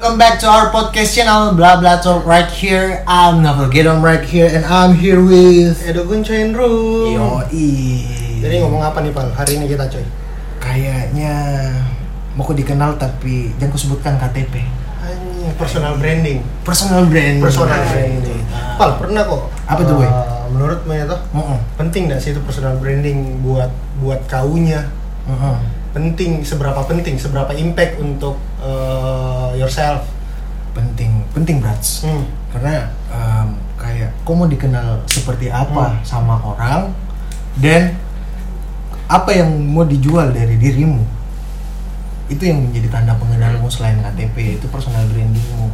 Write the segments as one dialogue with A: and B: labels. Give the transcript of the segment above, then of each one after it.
A: Welcome back to our podcast channel Blah Blah Talk right here. I'm Novel Gedong right here and I'm here with
B: Edo Guncain Room.
A: Iya. Yoi.
B: Jadi ngomong apa nih Pal? Hari ini kita coy.
A: kayaknya mau ku dikenal tapi jangan ku sebutkan KTP.
B: Anjing, personal branding.
A: Personal brand.
B: Personal branding. Pal, pernah kok.
A: Apa tuh,
B: eh,
A: Boy?
B: menurut Maya tuh
A: Heeh.
B: penting nggak sih itu personal branding buat buat kaunya?
A: heeh.
B: Penting seberapa penting, seberapa impact untuk eh, yourself.
A: Penting, penting brats.
B: Hmm.
A: Karena em, kayak kau mau dikenal seperti apa
B: Hmm.
A: sama orang dan apa yang mau dijual dari dirimu itu yang menjadi tanda pengenalmu selain KTP itu personal brandingmu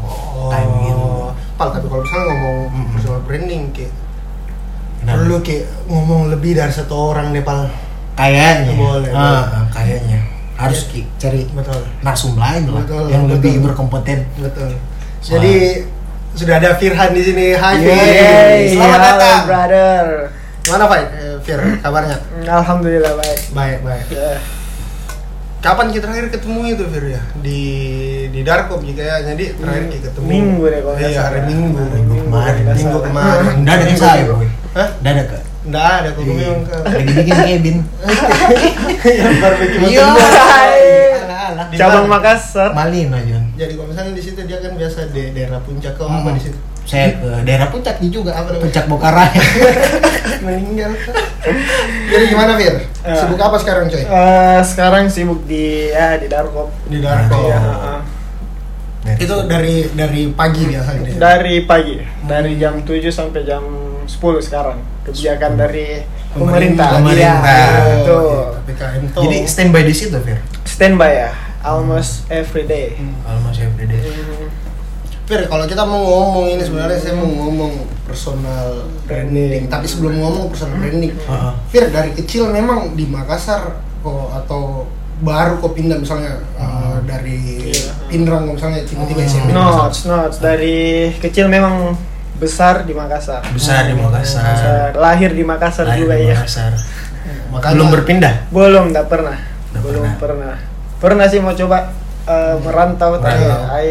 A: timingmu
B: Oh, Pal, tapi kalau misalnya ngomong
A: gitu. Mm-mm. Nah.
B: personal branding kayak
A: Kenapa?
B: perlu kayak ngomong lebih dari satu orang deh, Pal.
A: kayaknya
B: Boleh,
A: Ah,
B: boleh.
A: ah, kayaknya harus ki cari
B: Betul.
A: narsum lain lah
B: Betul,
A: yang
B: betul.
A: lebih berkompeten
B: Betul.
A: Soal-
B: Jadi sudah ada Firhan di sini. Hai,
C: Yeay,
B: Firhan. Selamat
C: halo,
B: datang.
C: brother.
B: Gimana, Pak? Eh, Fir, kabarnya?
C: Mm, Alhamdulillah baik.
B: Baik, baik.
C: Ya.
B: Kapan kita terakhir ketemu itu, Fir ya? Di di Darko juga ya. Jadi terakhir kita ketemu
C: Hmm. Minggu deh kalau nggak
B: Iya, hari
C: salah.
B: Minggu.
C: Hari Minggu
A: kemarin.
C: kalau nggak
B: Minggu
C: salah. Iya.
B: kemarin.
A: Nggak ada yang
B: Minggu
A: saya
B: dulu.
A: boy
B: Hah?
A: Nggak ada ke
B: Nggak ada kok memang ke.
A: lagi bikin kebin
B: Yang barbecue
A: iya
B: bertemu. Iya.
A: alah alah
B: Di
C: Cabang
B: mana?
C: Makassar.
A: Malino Jun
B: Jadi kalau misalnya di situ dia kan biasa di daerah puncak kok apa
A: Hmm.
B: di situ?
A: Saya ke daerah puncak nih juga,
B: Apa namanya?
A: puncak Bokaraya.
B: Meninggal. Jadi gimana, Fir?
C: Ya.
B: Sibuk apa sekarang, coy?
C: Eh, sekarang sibuk di ya di Darkop.
B: Di Darko.
C: Iya, heeh.
B: Itu dari dari pagi biasanya dia.
C: Eh, Dari pagi, dari jam 7 sampai jam 10 sekarang. Kebijakan dari pemerintah.
A: Pemerintah.
C: Iya,
B: Oh,
C: itu.
B: iya, PPKM tuh.
A: Jadi standby di situ, Fir.
C: Standby ya, almost every day.
B: Hmm.
A: Almost every day.
C: Mm,
B: Fir, kalau kita mau ngomong ini sebenarnya saya mau ngomong personal branding. Tapi sebelum ngomong personal branding,
A: Heeh.
B: Fir dari kecil memang di Makassar kok atau baru kok pindah misalnya uh, dari
C: Iya.
B: Pindrang kok misalnya tiba-tiba
A: Hmm.
B: SMP.
C: Not, not. Dari kecil memang besar di Makassar.
A: Besar di
C: Makassar.
A: Makassar.
C: Lahir di Makassar
A: Lahir
C: juga
A: di
C: ya.
A: Makassar.
B: Makanya
A: Belum berpindah.
C: Belum, tak pernah.
A: Nggak Hmm.
C: Belum pernah. Pernah sih mau coba eh, merantau tapi ya,
A: Merantau.
C: ai,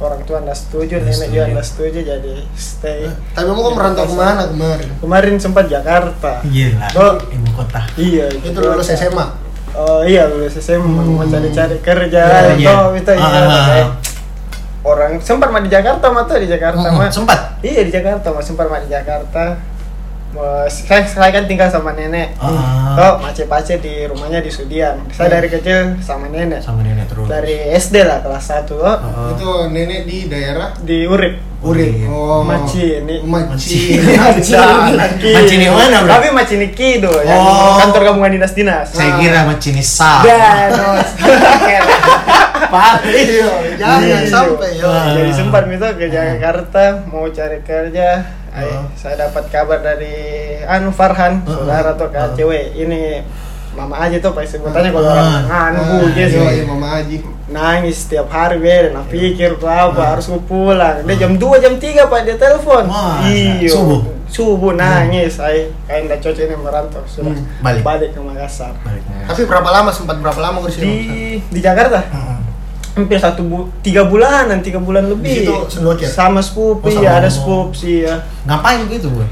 C: orang tua nggak setuju,
A: Nggak
C: nenek juga
A: setuju.
C: nggak setuju jadi stay.
B: Eh, Tapi kamu kok merantau kemana kemarin?
C: Kemarin sempat Jakarta.
A: Gila.
C: Gua-
A: Ibu kota.
C: Iya,
B: Itu lulus
C: Jakarta.
B: SMA.
C: Oh iya lulus SMA mau cari-cari kerja
A: Oh, Hmm. iya.
C: itu itu
A: Ah,
C: iya,
A: ah, ah.
C: kayak orang sempat mah di Jakarta mah tuh di Jakarta
A: Mm-mm,
C: mah
A: Oh, Sempat.
C: Iya di Jakarta, mas sempat mah di Jakarta. Mas, Saya, saya kan tinggal sama nenek.
A: Ah. Hmm.
C: Oh, macet-macet di rumahnya di Sudian. Saya dari kecil sama nenek.
A: Sama nenek terus.
C: Dari SD lah kelas 1 oh,
A: Heeh.
B: Itu nenek di daerah
C: di Urip.
B: Uri.
A: Iya.
B: Oh,
C: Macini.
B: Macini.
C: Macini
B: Macini.
C: Kidul.
A: Macini mana, bro?
C: Tapi Ah. Macini Kidul yang
A: Oh.
C: kantor gabungan dinas dinas.
A: Saya kira macam ini sah.
C: Dan
A: Paling.
B: Iya, Jangan
C: Iya.
B: sampai ya.
A: Ah.
C: jadi sempat minta ke Jakarta mau cari kerja. Ay,
A: Oh.
C: saya dapat kabar dari Anu Farhan,
A: Oh,
C: saudara tuh
A: oh.
C: kak cewek. Ini mama aja tuh pasti sebutannya
A: Oh.
C: kalau orang anu
B: Ah,
C: gitu.
B: iya, iya, Mama Haji.
C: Nangis setiap hari
A: Iya.
C: ber, nah pikir tuh apa harus gua pulang. Dia jam 2 jam 3 Pak dia telepon.
A: Wah,
C: Iya.
A: subuh? Iya.
C: Subuh nangis. Ay, kain dah cocok ini merantau sudah.
B: Hmm,
A: balik.
C: balik ke Makassar.
A: Balik.
B: Tapi berapa lama sempat berapa lama kursi
C: Di di Jakarta?
A: Heeh.
C: hampir satu bu tiga bulanan tiga bulan
B: Di
C: lebih
B: situ sendok ya?
C: sama scoop
A: Oh, sama
C: iya
A: sendok.
C: ada scoop sih ya
A: Ngapain gitu, Bu?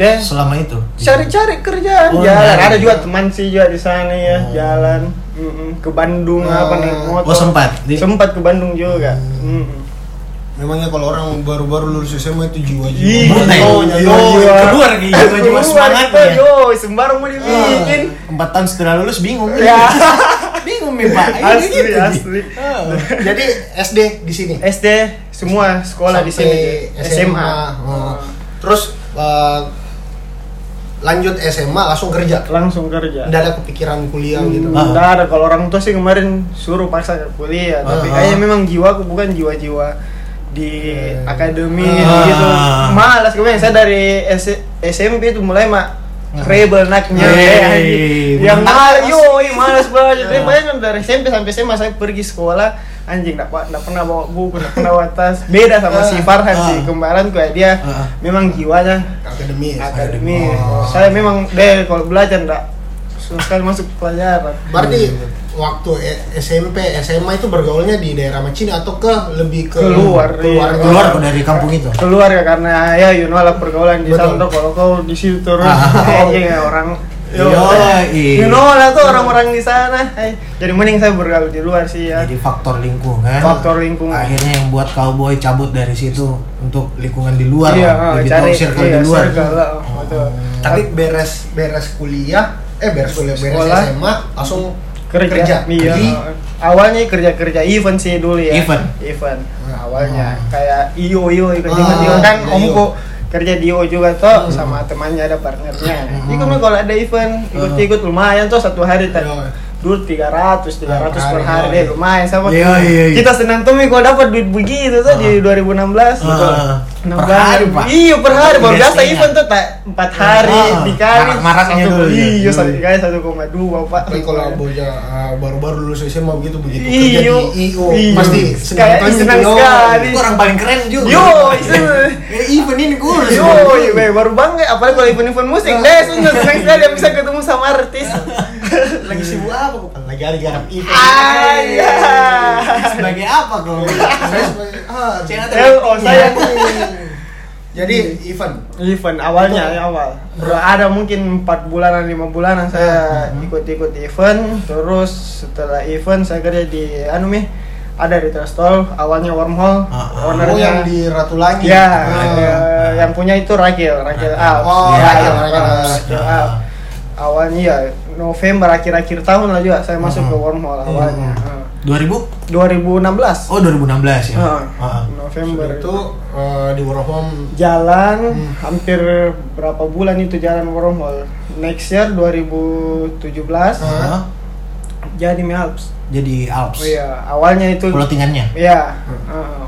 C: deh
A: Selama itu.
C: cari-cari kerjaan
A: Oh,
C: jalan
A: nyari.
C: ada juga teman sih juga di sana ya
A: Oh.
C: jalan Mm-mm. ke Bandung
B: Oh.
C: apa naik motor
A: Oh, sempat. Di- Hmm.
C: sempat ke Bandung juga Mm-mm.
B: Memangnya kalau orang baru-baru lulus SMA itu Iya,
C: Ih,
B: jiwa-jiwa.
A: Mulai.
C: oh,
B: Jiwa-jiwa.
C: iya, iya.
A: Keluar gitu, jiwa
C: Keluar
A: semangatnya.
C: kita, yo sembarang mau dibikin
A: Empat tahun setelah lulus bingung.
C: ya
A: bingung nih Pak. Ini
C: asli
A: gitu, Ji.
C: asli
A: Oh.
B: Jadi SD di sini.
C: SD semua sekolah di sini
B: Sampai SMA. Oh. Terus eh, lanjut SMA langsung kerja.
C: langsung kerja
B: Tidak ada kepikiran kuliah gitu.
A: Ah.
C: Nggak ada kalau orang tua sih kemarin suruh paksa ke kuliah, tapi
A: Ah.
C: kayaknya memang jiwa aku bukan jiwa-jiwa di akademi
A: Eh. Ah.
C: gitu. Malas kemarin saya dari S- SMP itu mulai mak
A: Ah.
C: rebel naknya
A: Yeay,
C: ya, anjing. yang
A: menang.
C: malas yo malas banget jadi bayangkan dari SMP sampai SMA saya pergi sekolah anjing nggak nggak pernah bawa buku nggak pernah bawa tas beda sama si Farhan
A: Ah.
C: sih kembaran kayak dia
A: Ah.
C: memang jiwanya
B: Akademis.
C: akademis
A: Oh.
C: saya memang deh kalau belajar nggak susah sekali masuk pelajaran
B: Berarti waktu E- SMP, SMA itu bergaulnya di daerah Macina atau ke lebih ke
C: Keluar,
B: keluar,
C: iya.
A: keluar dari kampung itu
C: keluar ya karena ya you know lah pergaulan di
B: Betul.
C: sana tuh kalau kau di situ terus
A: Ah.
C: anjing ya orang eh,
A: Yo, iya.
C: you know lah tuh orang-orang di sana Eh, jadi mending saya bergaul di luar sih ya
A: jadi faktor lingkungan
C: faktor lingkungan
A: akhirnya yang buat cowboy cabut dari situ untuk lingkungan di luar
C: iya
A: lah,
C: ah,
A: lebih
C: cari
A: tahu circle
C: iya,
A: di luar Oh.
C: circle, ah, betul.
B: Tapi beres beres kuliah, eh beres kuliah beres
C: Sekolah.
B: SMA langsung
C: kerja,
B: kerja.
C: iya
B: Jadi,
C: awalnya kerja kerja event sih dulu ya
A: Event.
C: event awalnya
A: Ah.
C: kayak iyo iyo kerja
B: Ah,
C: iyo kan
B: iya,
C: omku kerja di IO juga toh
B: Hmm.
C: sama temannya ada partnernya
A: Hmm.
C: Jadi kami kalau ada event ikut-ikut lumayan tuh satu hari tadi
B: Iya.
C: dulu 300 300
B: Ah, per hari,
C: per hari
B: iya.
C: deh lumayan sama
A: Iya, iya, iya.
C: kita senang tuh Mi, kalau dapat duit begitu tuh di 2016 betul.
A: Ah,
C: Enam
A: per
C: bulan.
A: hari, Pak.
C: iya per hari baru biasa
A: Biasanya.
C: event tuh tak empat hari
A: Ah,
C: dikali
A: marak-maraknya
C: satu-
A: dulu ya.
C: iya satu
A: Dulu.
C: kali satu koma dua pak
B: Tapi kalau boja uh, baru-baru lulus SMA begitu begitu
C: Iya. Iyo.
B: kerja di IO
C: Iyo.
B: pasti
C: Kayak
B: senang
C: senang
B: Iyo.
C: sekali.
A: Itu orang paling keren juga
C: Yo, iya. itu-
A: Eh, event ini gue harus
C: Yo, iya, Bay, baru bangga, apalagi kalau event-event musik Deh,
B: Nah.
C: sungguh senang sekali yang bisa ketemu sama artis Iya.
A: lagi sibuk apa kok
B: Lagi ada garap IPA.
C: Ayah
A: sebagai apa kok
B: Oh, iya. Saya sebagai ah,
A: Cina
C: Eh, oh, saya
B: Jadi event
C: Event awalnya, ya, awal Bro, ada mungkin 4 bulanan, 5 bulanan saya
B: Hmm.
C: ikut-ikut event Terus setelah event saya kerja di, anu mi ada di Trastol, awalnya Wormhole
A: Ah, ah.
B: Oh
C: Ownernya
B: yang di Ratu Langit.
C: Ya,
B: Ah.
C: ada- yang punya itu Ragil, Ragil Alps
B: Oh,
C: Ya,
B: Ragil,
C: Alps,
A: Iya.
B: Ragil Alps.
C: Ragil Alps. Awalnya ya November akhir-akhir tahun lah juga saya masuk ke
A: Mhm.
C: Wormhole awalnya. Heeh.
A: 2000
C: 2016.
A: oh 2016 ya
C: Heeh.
A: Heeh.
C: November
B: Sudah itu
C: itu
B: eh, di Work Home
C: jalan
A: Mm.
B: Hmm.
C: hampir berapa bulan itu jalan wormhole next year 2017
A: Heeh.
C: jadi Mi Alps
A: jadi Alps
C: oh iya awalnya itu
A: Pelotingannya
C: iya
A: Mm.
C: heeh.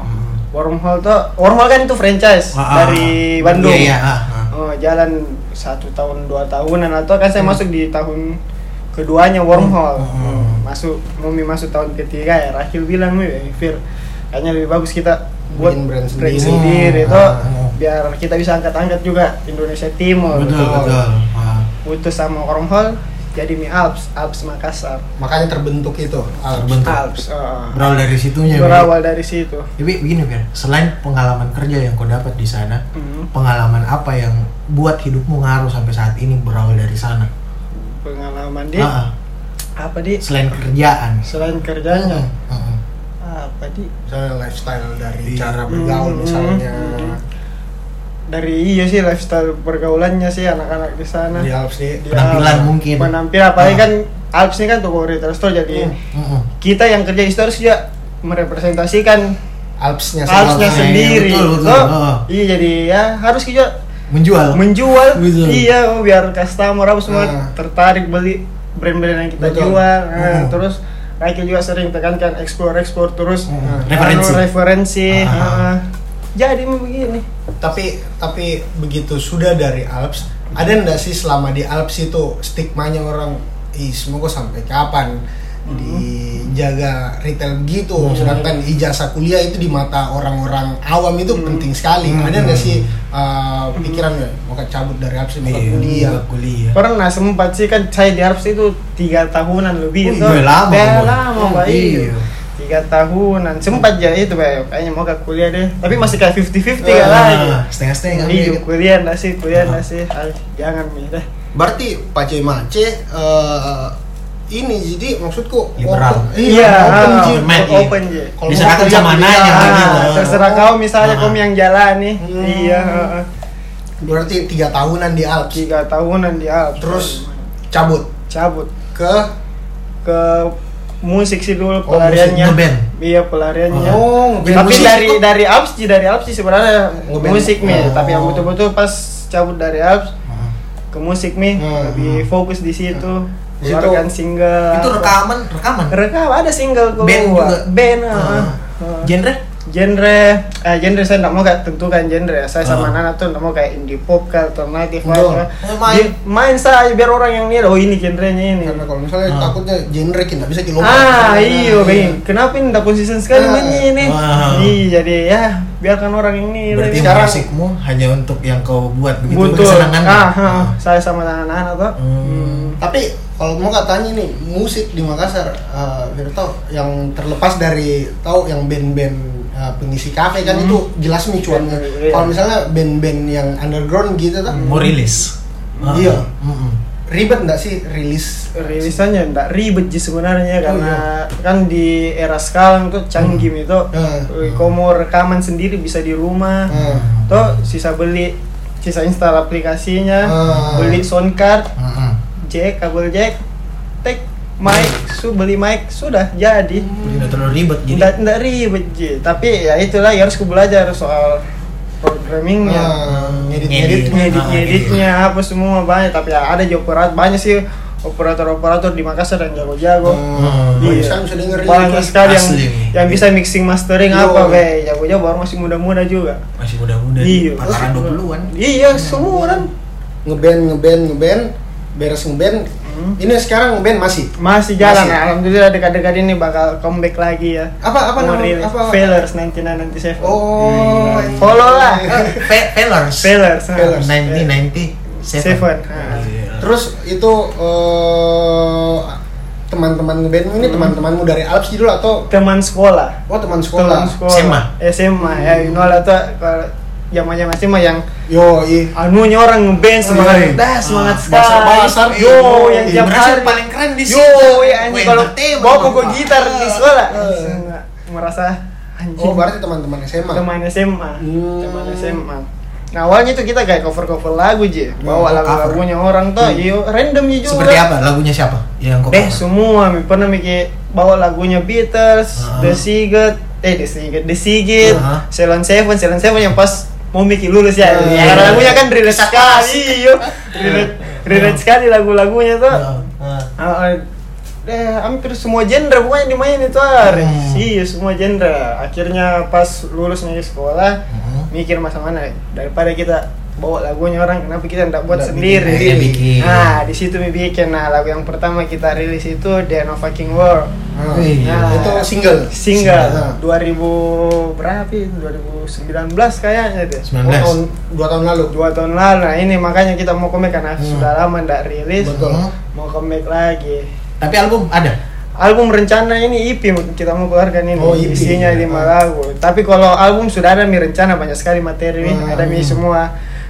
C: wormhole tuh wormhole kan itu franchise
A: Ah,
C: dari
A: ah.
C: Bandung
A: Iya, iya, ah, ah.
C: Oh, jalan satu tahun dua tahunan atau kan saya masuk di tahun keduanya wormhole
A: Hmm, hmm.
C: Hmm, masuk mumi masuk tahun ketiga ya Rahil bilang "Mi, Fir kayaknya lebih bagus kita buat
B: Bikin brand sendiri."
C: sendiri
A: Hmm,
C: toh,
A: ah, ah.
C: biar kita bisa angkat-angkat juga Indonesia Timur gitu.
A: betul
B: betul.
A: betul Ah.
C: putus sama wormhole jadi mi Alps Alps Makassar
B: makanya terbentuk itu. ah, Alps.
A: Terbentuk.
C: Alps oh.
A: berawal dari situnya Bi.
C: berawal dari situ
A: tapi begini Fir selain pengalaman kerja yang kau dapat di sana
C: Hmm,
A: pengalaman apa yang buat hidupmu ngaruh sampai saat ini berawal dari sana
C: pengalaman di
A: Ah, ah.
C: apa di
A: selain kerjaan
C: selain kerjanya
A: Heeh.
C: apa di
B: Misalnya lifestyle dari
A: Iya.
B: cara bergaul
C: Hmm,
B: misalnya
C: hmm. dari iya sih lifestyle pergaulannya sih anak-anak di sana
B: di Alps nih.
C: Dia
A: Penampilan Iya, mungkin. Iya.
C: penampilan apalagi
A: Ah.
C: kan Alps ini kan toko retail store jadi
B: Hmm.
A: Heeh.
C: kita yang kerja di store sih ya merepresentasikan
B: Alpsnya
C: Alpsnya
A: Alps.
C: sendiri
A: Iya, Betul, betul.
C: So,
A: Ah.
C: iya jadi ya harus kita
A: menjual
C: menjual
A: Betul.
C: iya biar customer apa semua
B: Ah.
C: tertarik beli brand-brand yang kita
B: Betul.
C: jual Nah,
A: Hmm.
C: terus Raikil juga sering tekankan ekspor ekspor terus
A: Hmm.
C: anu,
A: Referensi.
C: referensi
A: Ah.
C: Ah. jadi begini
B: Tapi tapi begitu sudah dari Alps, ada enggak sih selama di Alps itu stigmanya orang ih semoga sampai kapan
C: Hmm.
B: dijaga retail gitu sedangkan ijazah kuliah itu di mata orang-orang awam itu
C: Hmm.
B: penting sekali ada nggak
A: Hmm.
B: sih uh, pikiran mau cabut dari Alps mau
A: Iya,
B: kuliah
A: kuliah
C: pernah sempat sih kan saya di Harps itu tiga tahunan lebih
A: Wih,
C: itu
A: gue lama,
C: Udah
A: Boy.
C: lama
A: Hmm,
C: Pak, iya.
A: iya.
C: tiga tahunan sempat ya itu Pak. kayaknya mau ke kuliah deh tapi masih kayak 50-50
A: Ah,
C: kan lagi
A: setengah-setengah gitu.
C: iya
A: Bi.
C: kuliah nggak sih kuliah nggak
A: Ah.
C: sih Ah, jangan mi deh
B: Berarti Pace Mace eh, ini jadi maksudku
A: Liberal.
B: open- iya, open
C: ah,
B: gym.
A: Main, iya.
C: open ya
B: Kalau
A: Bisa
B: mau
A: datang
B: kerja
A: sama
B: beli,
A: nanya,
B: ah,
A: gitu.
C: terserah
B: oh,
C: kau misalnya
A: Ah.
C: kau yang jalan nih
B: Hmm.
C: iya ah, ah.
B: Berarti tiga tahunan di Alps.
C: tiga tahunan di Alps
B: Terus cabut
C: cabut
B: ke
C: ke musik sih dulu
B: Oh, musik,
C: pelariannya
A: ngeband.
C: iya pelariannya
B: Oh, ngeband
C: tapi
B: musik.
C: dari dari Alps sih dari Alps sih sebenarnya
B: Ngeband.
C: musik mi
B: Oh.
C: tapi yang betul-betul pas cabut dari Alps
A: Heeh.
C: ke musik mi
B: Hmm.
C: lebih fokus di situ
B: Di situ-
C: keluarkan single
A: itu rekaman rekaman
C: rekam ada single keluar.
A: Band juga?
C: band ah.
A: Ah.
C: Ah.
A: genre
C: genre eh, genre saya nggak mau kayak tentukan genre saya
A: Ah.
C: sama
B: Hmm.
C: Nana tuh nggak mau kayak indie pop kayak alternatif
B: Betul.
C: apa.
A: Oh, main.
C: Di- main saja biar orang yang nilai oh ini genrenya ini
B: karena kalau misalnya
A: Ah.
B: takutnya genre kita bisa kilometer. Iya.
C: ah iyo Bing. kenapa ini nggak konsisten
B: Ah.
C: sekali mainnya ini
A: Ah.
C: Ih, jadi ya biarkan orang yang ini
A: Berarti
C: sekarang
A: musikmu hanya untuk yang kau buat begitu
C: butuh
A: kesenanganmu.
C: ah, ah,
A: Ah.
C: saya sama anak-anak tuh
A: Hmm.
B: Tapi kalau mau katanya nih musik di Makassar, eh, Virto yang terlepas dari tahu yang band-band eh, pengisi kafe kan itu jelas nih cuannya.
C: Hmm. Iya. Hmm.
B: Kalau misalnya band-band yang underground gitu tuh,
A: Mau rilis. Ah.
B: Iya.
A: Mm-mm.
B: ribet nggak sih rilis?
C: rilisannya enggak ribet sih sebenarnya
B: Oh,
C: karena kan di era sekarang tuh canggih itu
B: Hmm.
C: kau mau rekaman sendiri bisa di rumah
B: Hmm.
C: tuh sisa beli sisa install aplikasinya
B: Hmm.
C: Kan beli sound card
A: Mm-mm.
C: jack kabel jack tek mic su beli mic sudah jadi
A: Jadi udah terlalu ribet jadi.
C: nggak nggak ribet Ji. tapi ya itulah ya harus ku belajar soal programmingnya
B: Hmm,
A: Ngedit.
B: Ngedit-ngedit.
C: ngedit
A: Ah,
B: iya.
C: ngeditnya apa semua banyak tapi ya ada juga operator banyak sih operator operator di Makassar yang jago-jago
B: Hmm.
A: Iya.
B: Sekarang bisa denger ini.
C: banyak sekali yang
A: Asli.
C: yang bisa mixing mastering
B: Iya.
C: apa be jago-jago orang masih muda-muda juga
A: Masih muda-muda.
C: Iya.
A: Pasaran 20-an.
C: iya semua orang
B: ngeband ngeband ngeband beres ngeband
C: Hmm.
B: ini sekarang ngeband masih
C: masih jalan
B: Masih.
C: alhamdulillah dekat-dekat ini bakal comeback lagi ya
B: apa apa
C: Mau
B: nama
C: rilis.
B: apa, apa?
C: Failures 9997
B: oh
C: Hmm. Follow lah.
A: Fe- Failures.
C: Failures, ah.
B: Failures.
A: 90 90 seven.
C: Seven.
A: Ah, iya.
B: terus itu eh, teman-teman ngeband ini
C: Hmm.
B: teman-temanmu dari Alps dulu atau
C: teman sekolah
B: oh teman sekolah
C: teman sekolah
A: SMA?
C: SMA ya you know lah tuh kalau zaman zaman SMA yang
B: yo i
C: anunya orang ngeband semangat
A: Iya.
C: dah semangat
A: Ah,
C: sekali
B: basar-basar.
C: yo
B: Iya,
C: yang tiap
A: merasa
C: hari
A: paling keren di
C: yo
A: situ.
C: ya anjing
A: Wah,
C: kalau
A: entertainment,
C: bawa koko
A: Pak.
C: gitar di sekolah
B: Ah.
C: anjing, nggak merasa anjing
B: oh berarti teman-teman SMA
C: teman SMA
B: Hmm.
C: teman SMA nah awalnya tuh kita kayak cover cover lagu je bawa
A: Hmm,
C: lagu-lagunya orang tuh yo random juga
A: Seperti apa? Lagunya siapa? Yang kau
C: deh
A: cover?
C: semua mi pernah mikir bawa lagunya Beatles,
A: Ah.
C: The Sigit, eh The Sigit, The Sigit,
A: Ah.
C: Ceylon Seven, Ceylon Seven yang pas mau mikir lulus ya.
B: Ah, iya,
C: Karena
A: iya.
C: lagunya kan relate sekali, yo. Relate,
A: Ah.
C: relate sekali lagu-lagunya tuh.
A: Ah, ah.
C: Ah, ah, deh, hampir semua genre pokoknya dimainin itu hari.
A: Hmm.
C: Iya, semua genre. Akhirnya pas lulus dari sekolah,
A: Mhm.
C: mikir masa mana daripada kita bawa lagunya orang kenapa kita tidak buat
B: Nggak
C: sendiri
B: bikin.
A: Akhirnya bikin.
C: Nah, di situ Mi bikin. Nah, lagu yang pertama kita rilis itu The No Fucking World.
B: Ah.
A: Iya.
C: Nah,
B: itu single
C: single 2000 berapa ya? itu? 2019 kayaknya deh.
A: 19.
B: Oh, tahun dua tahun lalu
C: Dua tahun lalu. Nah, ini makanya kita mau comeback karena
A: Hmm.
C: sudah lama ndak rilis.
B: Betul.
C: Mau comeback lagi.
A: Tapi album ada.
C: Album rencana ini EP kita mau keluarkan ini
B: Oh, EP.
C: isinya
B: Iya.
C: lima lagu. Tapi kalau album sudah ada mi rencana banyak sekali materi, Mi.
B: Hmm.
A: Ah,
C: ada
A: iya.
C: mi semua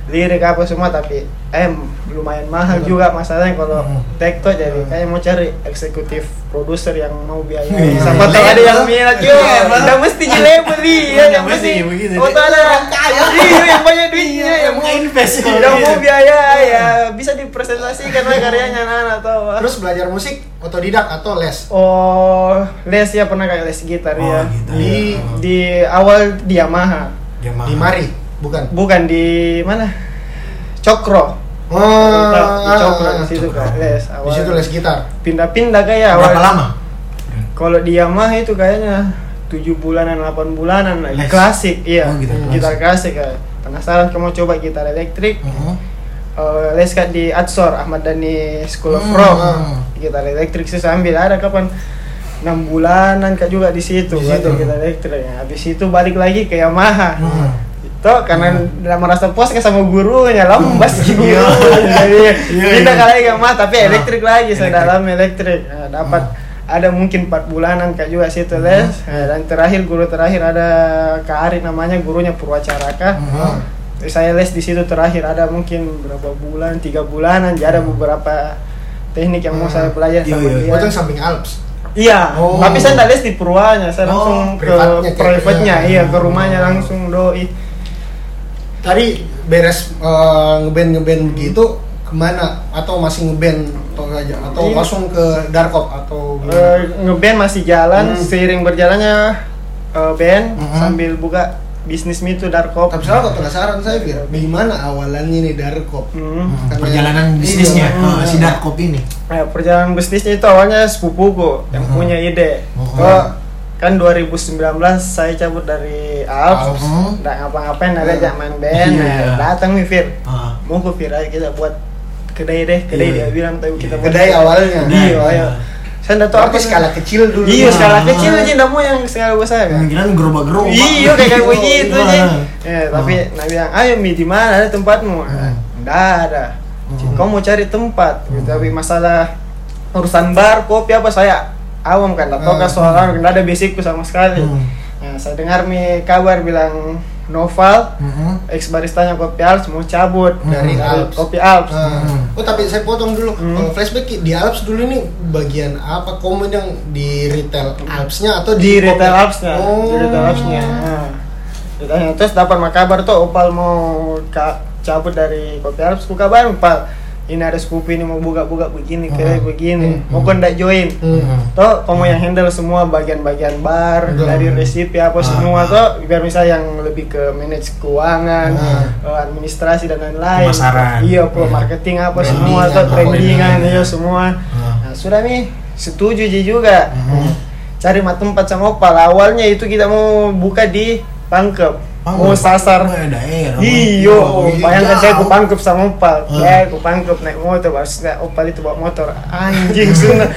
C: lirik apa semua tapi em lumayan mahal
B: Betul.
C: juga masalahnya kalau
A: Iya. Hmm.
C: tekto jadi kayak mau cari eksekutif produser yang mau biaya
A: Iya.
C: siapa tahu ada yang minat yo
A: Iya, Bang.
C: udah mesti di label iya
A: Udah
C: yang
A: mesti
C: mesti
A: begitu,
C: oh
A: deh.
C: tahu ada orang kaya iya yang banyak duitnya yang mau
A: invest.
C: yang mau biaya ya bisa dipresentasikan lah karyanya anak-anak tahu
B: terus belajar musik otodidak atau les
C: Oh, les ya pernah kayak les
A: Oh,
C: gitar ya.
A: gitar.
C: Di
A: Oh.
C: di awal di Yamaha,
A: Yamaha.
B: di mari bukan
C: bukan di mana? Cokro.
B: Oh,
C: di Cokro
B: ah,
C: di situ
A: Cokro.
C: kan les awal.
B: di situ les gitar
C: Pindah-pindah kayak awal.
A: Berapa lama?
C: Kalau di Yamaha itu kayaknya 7 bulanan, 8 bulanan lagi.
A: Les.
C: Klasik, iya.
A: Oh, gitar
C: gitar klasik. ya. Penasaran kamu coba gitar elektrik?
A: Mhm.
C: Eh, les kat di Atsor Ahmad Dhani School of
A: Hmm,
C: Rock
A: hmm.
C: gitar elektrik sih sambil ada kapan 6 bulanan kak juga di situ
A: Di
C: gitu
A: situ.
C: gitar elektrik ya. habis itu balik lagi ke Yamaha
A: Hmm.
C: itu karena udah merasa puas kan sama gurunya lembas
A: Hmm.
C: gitu guru
A: Iya.
C: jadi
A: Iya,
C: pindah
A: iya.
C: ke lagi ke Yamaha tapi
A: Ah,
C: elektrik lagi saya
A: elektrik. Ah.
C: dalam elektrik Nah, dapat ada mungkin 4 bulanan kak juga
A: Hmm.
C: situ les Nah, dan terakhir guru terakhir ada Kak Ari namanya gurunya Purwacaraka
A: Mhm.
C: saya les di situ terakhir ada mungkin berapa bulan tiga bulanan jadi ada beberapa teknik yang mau saya belajar
A: Iya,
C: sama
A: iya.
C: dia
B: Oh, itu yang samping Alps
C: iya
A: Oh.
C: tapi saya tidak les di Purwanya
A: Oh,
C: saya langsung ke
B: privatnya kayak-
C: private-nya
B: iya.
C: iya ke rumahnya langsung doi
B: Tadi beres eh, ngeband ngeband
C: Hmm.
B: gitu kemana? Atau masih ngeband atau aja? Atau
C: Iya.
B: langsung ke Darkop atau gimana?
C: Eh, ngeband masih jalan
B: Hmm.
C: seiring berjalannya eh, band
A: Mhm.
C: sambil buka bisnis itu Darkop
B: Tapi saya kok penasaran saya Fir,
C: Iya.
B: gimana awalannya nih Darkop?
C: Hmm.
A: Hmm. Perjalanan bisnisnya
B: Iya.
C: Mm-hmm.
A: eh, si Darkop ini.
C: Nah, perjalanan bisnisnya itu awalnya sepupuku yang
A: Mhm.
C: punya ide
A: Mhm.
C: Kok, kan 2019 saya cabut dari Alps
B: Alps.
A: Mhm.
C: nggak ngapa-ngapain ada
B: Iya.
C: zaman band
A: Iya.
C: nah, datang nih Fir
A: Ah.
C: mau ke Fir ayo kita buat kedai deh kedai
A: Iya.
C: dia bilang tapi kita buat
B: Kedai awalnya.
C: kedai
A: Iya.
C: ayo saya nggak tahu
B: Tapi skala kecil dulu.
C: iya skala
A: Ah.
C: kecil aja nggak mau yang skala besar kan
A: Kemungkinan gerobak-gerobak.
C: iya kayak begitu
A: Gimana?
C: aja ya tapi nah bilang ayo mi di mana ada tempatmu Ah,
A: Hmm.
C: nggak ada Cik,
A: Hmm.
C: kau mau cari tempat gitu tapi masalah urusan bar kopi apa saya awam kan nggak tahu kan
B: Hmm.
C: soalnya nggak ada basicku sama sekali
A: Hmm.
C: nah saya dengar mi kabar bilang Noval
A: Mm-mm.
C: ex baristanya kopi Alps mau cabut
A: Hmm.
C: dari
B: Alps.
C: kopi Alps
A: Hmm.
B: Oh tapi saya potong dulu
C: Hmm.
B: Kalau flashback di Alps dulu ini bagian apa komen yang di retail Alpsnya atau
C: di
B: kopi?
C: retail apps-nya
B: Oh.
C: di retail apps-nya Nah, ditanya terus dapat mah kabar tuh opal mau ka- cabut dari kopi Alps ku kabar opal ini ada sepupu ini mau buka-buka begini kayak
A: Hmm.
C: begini
A: Hmm.
C: mau kau ndak join
B: Oh. Hmm.
C: toh kamu yang handle semua bagian-bagian bar
B: Betul.
C: dari resipi apa
A: Ah.
C: semua toh biar misalnya yang lebih ke manage keuangan
B: Ah.
C: eh, administrasi dan lain-lain
A: Pemasaran.
C: iya
A: Iya.
C: pro marketing apa
B: Branding,
C: semua toh
B: apa
C: brandingan
A: branding.
C: iya semua
A: Ah.
C: nah, sudah mi setuju ji juga
A: Mhm.
C: cari mah tempat sama opal awalnya itu kita mau buka di Pangkep
A: Ah.
C: mau Oh, sasar
A: Eh, daerah.
C: Iyo,
A: Iya,
C: bayangkan saya
A: jauh.
C: ku pangkep sama opal,
A: Hmm.
C: ya ku pangkep naik motor, maksudnya opal itu bawa motor, anjing sudah,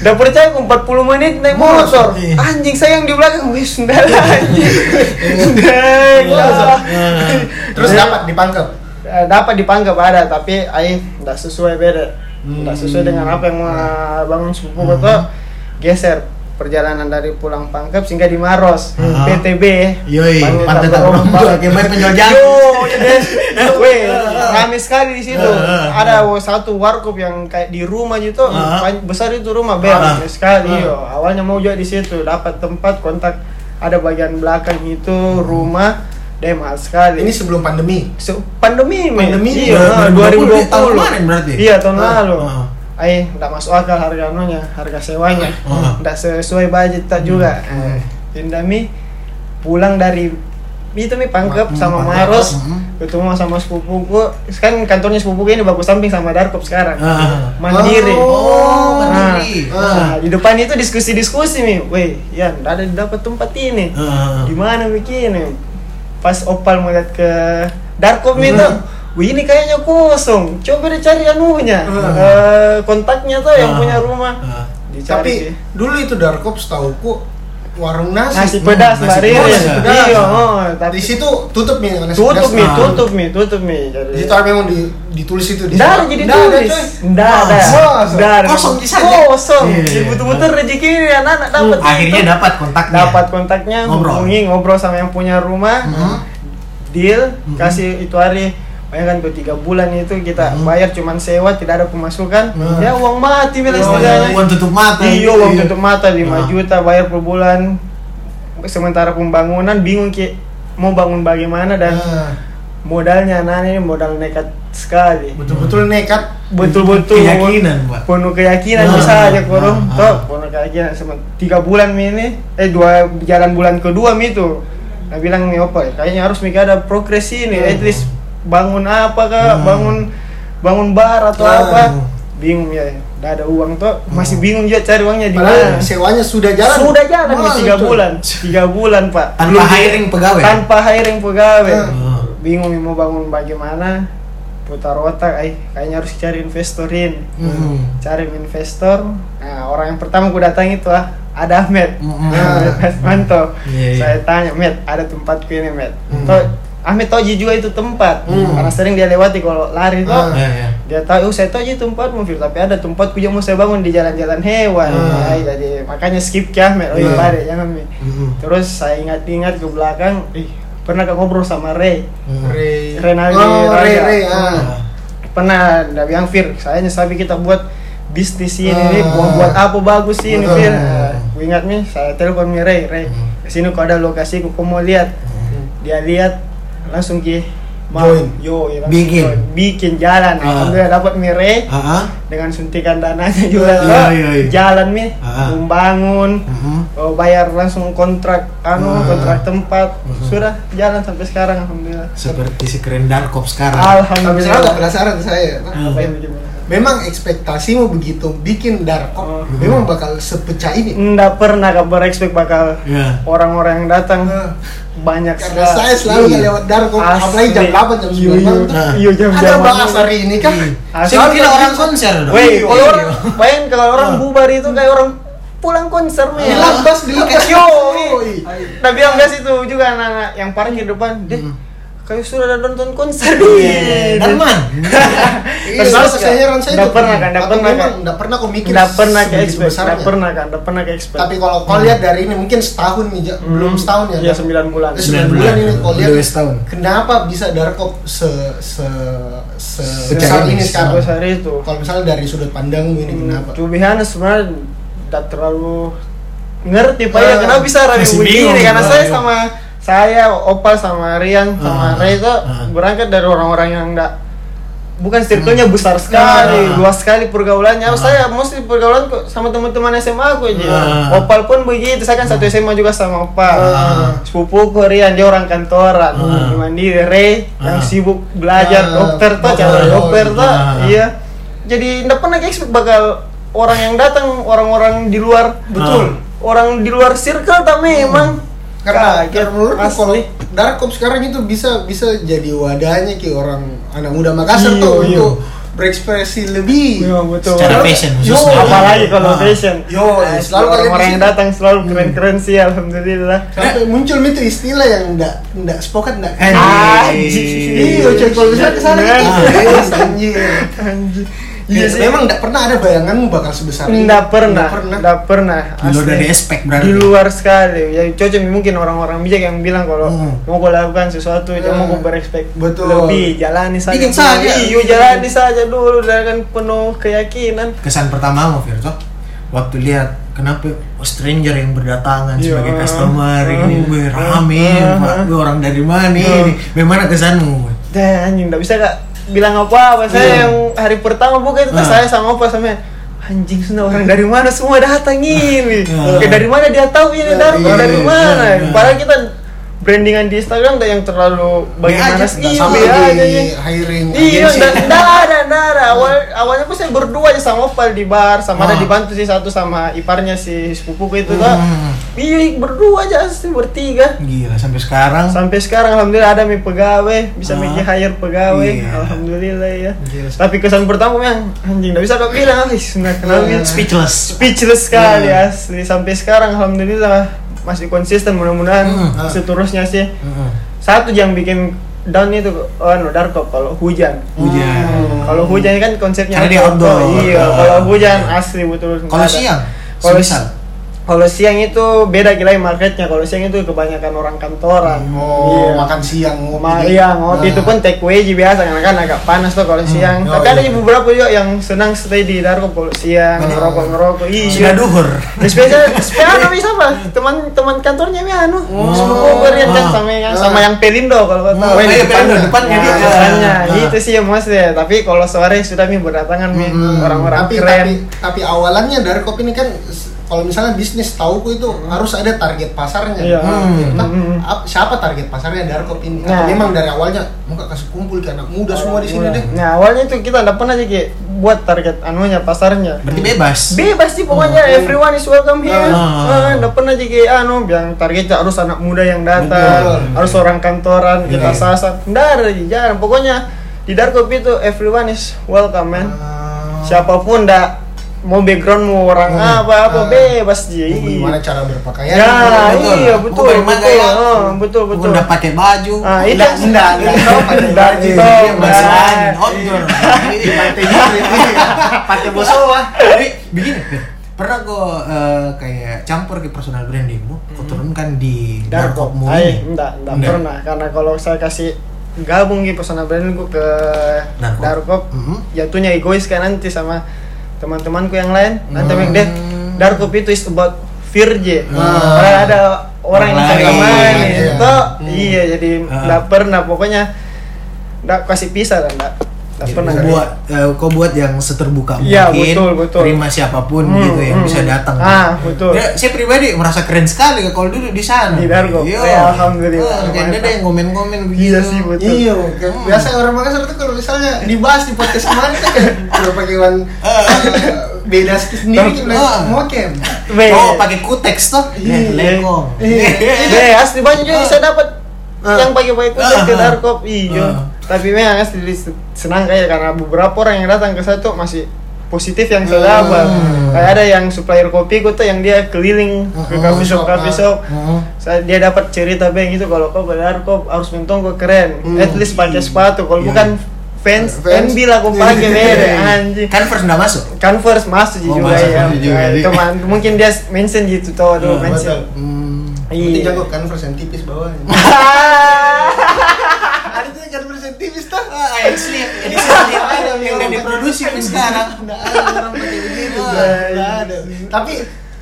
C: udah percaya ku 40 menit naik
A: Masa,
C: motor,
A: iya.
C: anjing saya yang di belakang, wih sudah lah, anjing,
A: Iya.
C: sudah,
A: Iya.
B: Terus dapat dipangkep.
C: Eh, dapat dipanggil ada tapi ai tidak sesuai beda tidak sesuai dengan apa yang mau
A: Hmm.
C: bangun sepupu gua tuh geser perjalanan dari pulang pangkep sehingga di Maros
A: Hmm.
C: PTB
A: Yoi,
C: Pantai
A: iya. pantai tak
C: Tak Berompak.
A: berompak. Kayak banyak penjual jamu.
C: Yo, yes. Weh, rame sekali di situ.
A: Ah, ah,
C: Ada satu warkop yang kayak di rumah gitu,
A: Ah.
C: pan- besar itu rumah
A: Ah.
C: bel rame sekali.
A: Ah.
C: yo. Awalnya mau juga di situ, dapat tempat kontak ada bagian belakang itu
A: Hmm.
C: rumah, deh mahal sekali.
B: Ini sebelum pandemi.
C: Se- pandemi men.
A: Pandemi
C: iya,
A: 2020.
C: 2020
A: Tahun kemarin berarti?
C: iya tahun
B: Ah,
C: lalu
A: ah.
C: eh nggak masuk akal harga anunya harga sewanya
A: Ah. Hmm.
C: nggak sesuai budget tak juga eh, pindah mi pulang dari itu mi
A: Hmm,
C: pangkep sama
A: Pangkep,
C: Maros
A: hmm.
C: ketemu sama sepupuku kan kantornya sepupuku ini bagus samping sama Darkop sekarang
A: Ah.
C: mandiri
A: Oh,
C: Nah,
A: mandiri.
C: nah, di depan itu diskusi-diskusi mi weh ya nggak ada dapat tempat ini
A: Ah.
C: gimana bikinnya pas opal melihat ke darkom itu wih ini kayaknya kosong coba deh cari anunya
A: Hmm.
C: eh, kontaknya tuh
A: Ah.
C: yang punya rumah
A: Ah.
B: Tapi
C: dicari
B: dulu itu Darkop setauku warung nasi.
C: nasi pedas
A: nasi
C: mbak Riri
A: pedas,
B: ya?
C: iya oh, tapi
B: Di situ tutup nih nasi
C: tutup mi
A: mie.
B: pedas.
A: Ah.
C: tutup mi tutup mi jadi
B: Di situ memang di- ditulis itu di
C: Nggak ada
B: sana.
C: jadi
B: Nggak ada,
C: tulis
B: coy.
C: Nggak ada
B: Masa?
C: Nggak ada.
A: Kosong di sana?
C: Kosong
A: Iya. Hmm.
C: Jadi Betul-betul rezeki ini anak-anak dapat
A: Akhirnya dapat kontaknya.
C: dapat kontaknya
A: Ngobrol.
C: hubungi ngobrol sama yang punya rumah
A: Mhm.
C: deal
A: Mhm.
C: kasih itu hari bayangkan tuh tiga bulan itu kita
A: Mhm.
C: bayar cuman sewa tidak ada pemasukan
A: Mhm.
C: ya uang mati bilang
A: Oh,
C: istilahnya
A: uang tutup mata.
C: iya Nah. uang tutup mata 5
A: Ah.
C: juta bayar per bulan sementara pembangunan bingung ki mau bangun bagaimana dan
B: Nah,
C: modalnya anak ini modal nekat sekali
B: Betul-betul
C: Hmm.
B: nekat.
C: betul-betul
A: Keyakinan, Pak.
C: penuh keyakinan
A: Nah,
C: bisa aja
A: nah,
C: kurung
A: nah.
C: toh penuh keyakinan Sem- tiga bulan mi ini eh dua jalan bulan kedua mi itu nah bilang mi apa ya, kayaknya harus mikir ada progres ini at least bangun apa
A: Nah.
C: kah bangun bangun bar atau
B: Nah.
C: apa bingung ya nggak ada uang toh masih bingung juga cari uangnya di
B: Padahal
C: mana
B: sewanya sudah jalan.
C: sudah jalan mi
B: Wah,
C: tiga
B: itu.
C: bulan tiga bulan pak
A: Tanpa
C: Belum di-
A: hiring pegawai?
C: tanpa hiring pegawai
A: Ah.
C: bingung mi mau bangun bagaimana putar otak eh kayaknya harus cari investorin
A: Mhm.
C: cari investor nah orang yang pertama gue datang itu ah ada Ahmed Nah,
A: Mm-mm.
C: Ahmed Asmanto.
A: Iya, iya.
C: saya tanya Med ada tempatku ini Med
A: Mm.
C: Toh, Ahmed tahu juga itu tempat
B: Mm.
C: karena sering dia lewati kalau lari tuh
B: Ah.
A: Ya, ya.
C: dia tahu oh, saya tahu aja tempat mobil tapi ada tempatku yang mau saya bangun di jalan-jalan hewan
A: Mm.
C: Ay, jadi makanya skip ke Ahmed oh iya
A: Mm.
C: lari jangan Med
A: Mhm.
C: terus saya ingat-ingat ke belakang ih pernah gak ngobrol sama Ray
A: Mhm.
C: Iya.
B: Re-
C: Renaldi
B: Hmm. Oh, Re,
C: Raja. Hmm.
B: Re, ah.
C: pernah ada yang Fir saya nyesabi kita buat bisnis ini nih
B: Ah.
C: buat, buat apa bagus sih ini
B: Betul.
C: Fir Nah, ku ingat nih saya telepon nih Ray Ray
A: Hmm.
C: kesini kok ada lokasi kok mau lihat dia lihat langsung ki mau
B: Join.
C: yo ya langsung
A: Bikin.
C: join. bikin jalan
A: Ah.
C: alhamdulillah dapat nih Ray
A: Ah, ah.
C: dengan suntikan dananya
A: Iya,
C: juga Lo,
A: iya, iya.
C: jalan nih
A: Ah.
C: membangun
A: Mhm.
C: oh, bayar langsung kontrak anu
A: Ah.
C: kontrak tempat
A: Mhm.
C: sudah jalan sampai sekarang alhamdulillah
A: Seperti si keren Darkop sekarang.
C: alhamdulillah
B: Tapi sekarang nggak penasaran saya.
C: Apa yang bikin penasaran?
B: memang ekspektasimu begitu bikin darko
C: Oh.
B: memang bakal sepecah ini
C: nggak pernah gak berexpect bakal
A: Ya.
C: orang-orang yang datang banyak
B: Eh, karena saya selalu
A: Iya.
B: lewat darko
C: Hmm. Asli.
B: apalagi jam 8 jam
C: Iya,
B: 9
C: iya.
B: malam tuh.
A: Nah.
C: Iya, jam Iya.
B: ada bahas hari ini kan
C: Asli. Iya,
A: Saya kira orang konser dong.
C: Weh, kalau
A: Iya.
C: orang bayangin kalau orang
A: Ah.
C: bubar itu kayak orang pulang konser nih.
B: dilabas dilabas
C: Yo, nah bilang gas itu juga anak-anak yang parkir depan, deh, kayak sudah ada nonton konser
A: Iya,
C: deh.
A: Darman.
B: Iya,
C: Terus
B: saya
C: nggak?
B: heran saya
C: Nggak
B: itu.
C: pernah kan, nggak
B: Atau
C: pernah
B: memang
C: kan.
B: nggak pernah kau mikir
C: Nggak pernah ke
B: sebegitu
C: expect,
B: besarnya.
C: nggak pernah kan, nggak pernah ke expect.
B: tapi kalau kau lihat dari ini mungkin setahun nih Ja- belum setahun ya
C: Iya,
B: Darko.
C: sembilan bulan.
B: Eh, sembilan bulan ini kau
A: Udah
B: lihat
A: setahun.
B: kenapa bisa Darko se se se
A: Sebesar
B: sebesar ini
A: ini,
B: sekarang
C: Terus hari itu.
B: kalau misalnya dari sudut pandangmu ini kenapa
C: Hmm. To be honest, sebenarnya tidak terlalu ngerti pak ya
B: Ah,
C: kenapa bisa Rani
A: masih
C: begini
A: bingung,
C: karena
A: Bang,
C: saya
A: iya.
C: sama saya Opal sama Rian sama
A: Ah,
C: Ray itu
A: ah.
C: berangkat dari orang-orang yang enggak bukan circle-nya besar sekali,
A: Hmm. Ah.
C: luas sekali pergaulannya. Saya mostly pergaulan kok sama teman-teman SMA aku aja.
A: Ah.
C: Opal pun begitu, saya kan satu SMA juga sama Opal.
A: Ah.
C: Sepupuku Rian dia orang kantoran,
A: Ah.
C: di mandiri Ray yang
A: Ah.
C: sibuk
B: Ah,
C: belajar dokter tuh,
B: dokter.
C: calon dokter tuh.
A: Ah.
C: Iya jadi nggak pernah expect bakal orang yang datang orang-orang di luar Ah.
A: Betul.
C: orang di luar circle tak memang
B: karena karena menurut
C: asli.
B: kalau Darkop sekarang itu bisa bisa jadi wadahnya ki orang anak muda Makassar
C: Iya,
B: tuh
C: iya.
B: untuk berekspresi lebih
C: Iya, betul.
A: Secara fashion
B: Yo,
A: khususnya.
C: apalagi kalau
A: Ah.
C: fashion
B: Yo,
C: Nah,
B: selalu kalian
C: orang-orang
B: di
C: yang
B: situ.
C: datang selalu keren-keren sih alhamdulillah
B: sampai muncul itu istilah yang ndak ndak sepakat ndak
A: Eh,
C: Anjing.
B: Iya, cuy, kalau misalnya kesana
C: Bener.
B: gitu, serius, anjir.
C: Anjir.
B: Iya,
C: Iya sih.
B: memang nggak pernah ada bayanganmu bakal sebesar ini.
C: Nggak pernah,
B: Nggak pernah.
C: nggak pernah.
A: Di luar
C: asli.
A: dari aspek berarti.
C: Di luar sekali. Ya cocok mungkin orang-orang bijak yang bilang kalau
A: Hmm.
C: mau gue lakukan sesuatu, jangan mau
B: Hmm.
C: gue berekspek
B: Betul.
C: lebih, jalani saja.
B: Bikin
C: dulu.
B: saja.
C: Iya, jalani saja dulu dengan penuh keyakinan.
A: Kesan pertama mau Virto waktu lihat kenapa oh, stranger yang berdatangan
C: Iya.
A: sebagai customer
C: Ah.
A: ini gue rame
C: Ah.
A: Pak, gue orang dari mana
C: Iya.
A: ini bagaimana kesanmu
C: Dan anjing nggak bisa kak bilang apa-apa. Saya
A: Hmm.
C: yang hari pertama buka itu tuh
A: Ah.
C: saya sama apa sama anjing sana orang dari mana semua datang ini.
A: Ah.
C: Kayak dari mana dia tahu ini
B: Iya,
C: dari
B: iya,
C: dari
A: iya,
C: mana?
A: iya.
C: Padahal kita brandingan di Instagram nggak yang terlalu bagaimana
B: Nggak
C: sih?
B: nggak
C: Iya,
B: sama di
C: iya, iya.
B: hiring
C: Iya,
B: agency.
C: enggak enggak ada, enggak ada. Awal awalnya pun saya berdua aja sama Opal di bar, sama ada
A: Ah.
C: dibantu sih satu sama iparnya si sepupuku itu tuh.
A: Hmm.
C: Iya, berdua aja sih bertiga.
A: gila sampai sekarang
C: Sampai sekarang alhamdulillah ada mi pegawai, bisa
A: Ah.
C: mikir hire pegawai.
A: Iya.
C: Alhamdulillah ya.
B: Gila.
C: Tapi kesan pertama yang anjing enggak bisa kau bilang, "Ih, nah kenapa?"
B: Iya.
A: speechless
C: Speechless sekali
A: Iya.
C: asli sampai sekarang alhamdulillah masih konsisten mudah-mudahan
A: Hmm.
C: seterusnya sih.
A: Mm-mm.
C: Satu yang bikin down itu oh no darko kalau hujan.
A: hujan
C: Hmm, Kalau hujan kan konsepnya
A: Karena dia outdoor.
C: Iya,
A: Outdoor.
C: kalau hujan asli betul. nggak
A: kalau
C: ada.
A: siang
C: Kalau
A: semisal
C: Kalau siang itu beda gila ya marketnya. Kalau siang itu kebanyakan orang kantoran.
A: Hmm.
B: Oh,
C: Iya.
B: makan siang ngopi. Nah.
C: Ma iya
A: Nah.
C: ngopi itu pun take away aja biasa karena kan agak panas tuh
A: Hmm.
C: kalau siang.
B: oh,
C: Tapi ada
B: iya.
C: beberapa juga yang senang stay di Darko kalau siang
B: Bener.
C: ngerokok ngerokok. Iya.
A: sudah duhur
C: Nah, Spesial, spesial apa siapa? Teman-teman kantornya mi anu, sepupu gue Rian kan
A: Ah.
C: sama yang sama yang Pelindo kalau kau
A: Oh,
C: tahu.
A: iya, Pelindo, depannya
C: Ya,
A: dia.
C: depannya.
A: Ah.
B: iya.
C: Gitu sih ya mas ya. Tapi kalau sore sudah mi berdatangan mi
B: Hmm,
C: orang-orang
B: tapi,
C: keren.
B: Tapi, tapi awalannya dari kopi ini kan s- kalau misalnya bisnis tahuku itu harus ada target pasarnya.
C: Hmm. Iya.
A: Hmm.
B: Entah
C: Hmm.
B: ap- siapa target pasarnya dari kopi ini?
C: Nah.
B: Atau memang dari awalnya muka kasih kumpul ke anak muda semua di sini deh.
C: Nah awalnya itu kita tidak pernah aja kayak buat target anunya pasarnya.
A: berarti bebas
C: Bebas sih pokoknya
B: Mm-hmm.
C: everyone is welcome here.
A: Ah.
C: Ah, Nggak pernah aja kayak anu yang targetnya harus anak muda yang
B: Betul.
C: datang, harus orang kantoran,
A: Iya.
C: kita sasan. Nggak ada jarang. Pokoknya di Dark Kopi itu everyone is welcome man.
B: Ah,
C: siapapun dah mau background mau orang
B: Hmm.
C: apa apa
B: Ah.
C: bebas dia
B: Gimana cara berpakaian?
C: Iya, Ya,
A: Betul.
C: iya,
A: Gua
C: betul,
A: dari
C: betul,
A: Mandailing.
C: oh, betul,
A: Gua
C: betul.
A: udah pakai baju
C: Ah, itu
B: Enggak, enggak, enggak. Kau pakai
C: Enggak,
B: baju.
C: itu.
A: Iya,
C: enggak.
A: bahasa lain, outdoor. Nah, Jadi,
B: Pantai Juri, iya. Pantai Bosowa.
A: Jadi begini, Fit. pernah gue kayak campur ke personal brandingmu, kau
C: Hmm.
A: turunkan di darkopmu
C: Ay,
A: ini.
C: enggak, enggak
A: Enggak.
C: pernah karena kalau saya kasih gabung gitu personal brand gue ke
A: Darkop.
C: Darkop
A: Mhm.
C: jatuhnya egois kan nanti sama teman-temanku yang lain nanti yang deh
A: Hmm.
C: Darkop itu is about Virje
A: Hmm.
C: Karena ada orang yang
A: Orang
C: sama
A: lain.
C: main
B: Iya.
C: itu iya jadi
A: Ah.
C: enggak pernah pokoknya enggak kasih pisah dan enggak Tak
A: Gitu.
C: pernah.
A: Kau buat eh, kau buat yang seterbuka
C: Iya,
A: mungkin
C: betul, betul.
A: terima siapapun
C: Hmm,
A: gitu yang
C: hmm,
A: bisa
C: hmm.
A: datang
C: Ah, betul.
A: Ya, saya pribadi merasa keren sekali kalau duduk di sana
C: Di Dargo.
A: Iya.
C: Ya,
A: Eh,
C: alhamdulillah.
A: jangan ada yang ngomen-ngomen begitu
C: Iya sih, betul. Hmm.
B: Iya, oke. biasa orang Makassar tuh kalau misalnya dibahas di podcast kemarin tuh kayak udah pakai wan eh, beda sendiri kita
A: Ah.
B: mokem.
C: Weh.
A: oh pakai kuteks toh Eh,
B: Iya.
A: lekong
B: Iya.
C: Deh, asli banyak juga bisa dapat
B: Ah.
C: yang pakai pakai kuda
A: Ah,
C: ke
A: ah.
C: Darkop iya.
A: Ah.
C: Tapi memang asli dis- senang kayak karena beberapa orang yang datang ke saya tuh masih positif yang saya dapat.
A: Hmm.
C: Kayak ada yang supplier kopi gua tuh yang dia keliling ke
A: Ah,
C: coffee
B: shop,
C: shop coffee
B: ah.
C: shop.
A: Heeh.
C: Saya, dia dapat cerita bang itu kalau "Oh, kau ke Darkop harus mentong kau keren.
B: Hmm.
C: At least pakai sepatu. Kalau
A: Iya.
C: bukan fans,
B: Fans.
C: fans. MB lah kau pakai bere
B: Iya.
C: anjing.
A: kan first nggak masuk
C: Converse masuk
A: Oh,
C: juga
A: masuk
C: ya.
A: juga,
C: Nah,
A: jadi.
C: itu man- mungkin dia mention gitu tuh, aduh,
A: Iya,
C: mention.
B: Betul.
A: Hmm.
B: Penting
C: Iya.
B: jago kan persen tipis bawahnya. Ada tuh kan persen tipis tuh.
A: Ah, actually ini
B: Ada,
A: sudah yang udah
B: memang.
C: Iya.
A: diproduksi kan sekarang
B: Nggak ada orang pakai begitu,
A: Ah,
B: Bang. Nggak ada. Tapi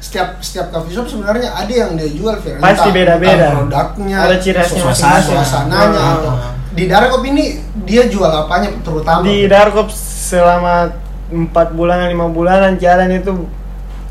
B: setiap setiap coffee shop sebenarnya ada yang dia jual Fir.
C: Pasti
B: Entah-
C: beda-beda.
B: entah produknya
A: Iya,
C: Ada ciri khasnya
B: suasana
A: masing-masing.
B: suasananya
C: Ah.
B: atau- di darah kopi ini dia jual apanya terutama
C: di Darkop selama empat bulanan lima bulanan jalan itu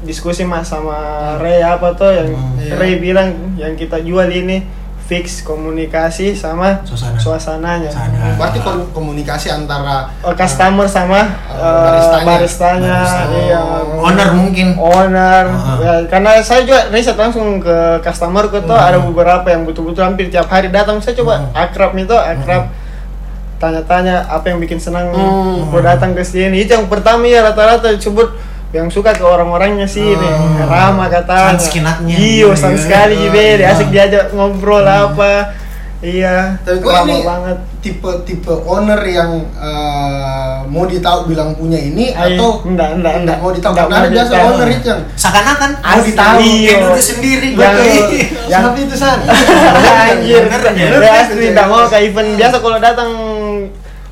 C: diskusi mas sama Ray apa tuh yang
A: Hmm.
B: Iya.
C: Ray bilang yang kita jual ini fix komunikasi sama
A: Suasana.
C: suasananya
A: Suasana.
B: berarti kon- komunikasi antara
C: Eh, customer sama
B: baristanya.
C: eh, baristanya,
A: Barista.
C: iya.
A: owner mungkin
C: owner
A: Ah.
C: Ya, karena saya juga riset langsung ke customer tuh ada beberapa yang betul-betul hampir tiap hari datang saya coba akrab itu akrab tanya-tanya apa yang bikin senang
B: Hmm.
C: mau datang ke sini itu yang pertama ya rata-rata disebut yang suka ke orang-orangnya sih ini
A: Hmm.
C: ramah katanya
A: Sanskinatnya.
C: iyo san
A: Iya.
C: sekali gitu
A: Iya.
C: asik diajak ngobrol apa iya
B: Tapi kok
C: ramah
B: ini-
C: banget
B: tipe-tipe owner yang eh, mau ditahu bilang punya ini
C: Ay,
B: atau
C: enggak, enggak, enggak.
B: mau ditahu
C: Enggak
B: karena
C: mau
B: ada biasa
C: ditahu.
B: owner itu yang
A: seakan-akan
B: Mau
C: Asli,
B: ditahu,
A: dia
C: iyo.
A: duduk sendiri Iya.
C: Yang-
A: betul
C: yang-
B: Tapi itu san
C: Anjir,
A: Bener ya?
C: ya asli tidak mau ke event biasa kalau datang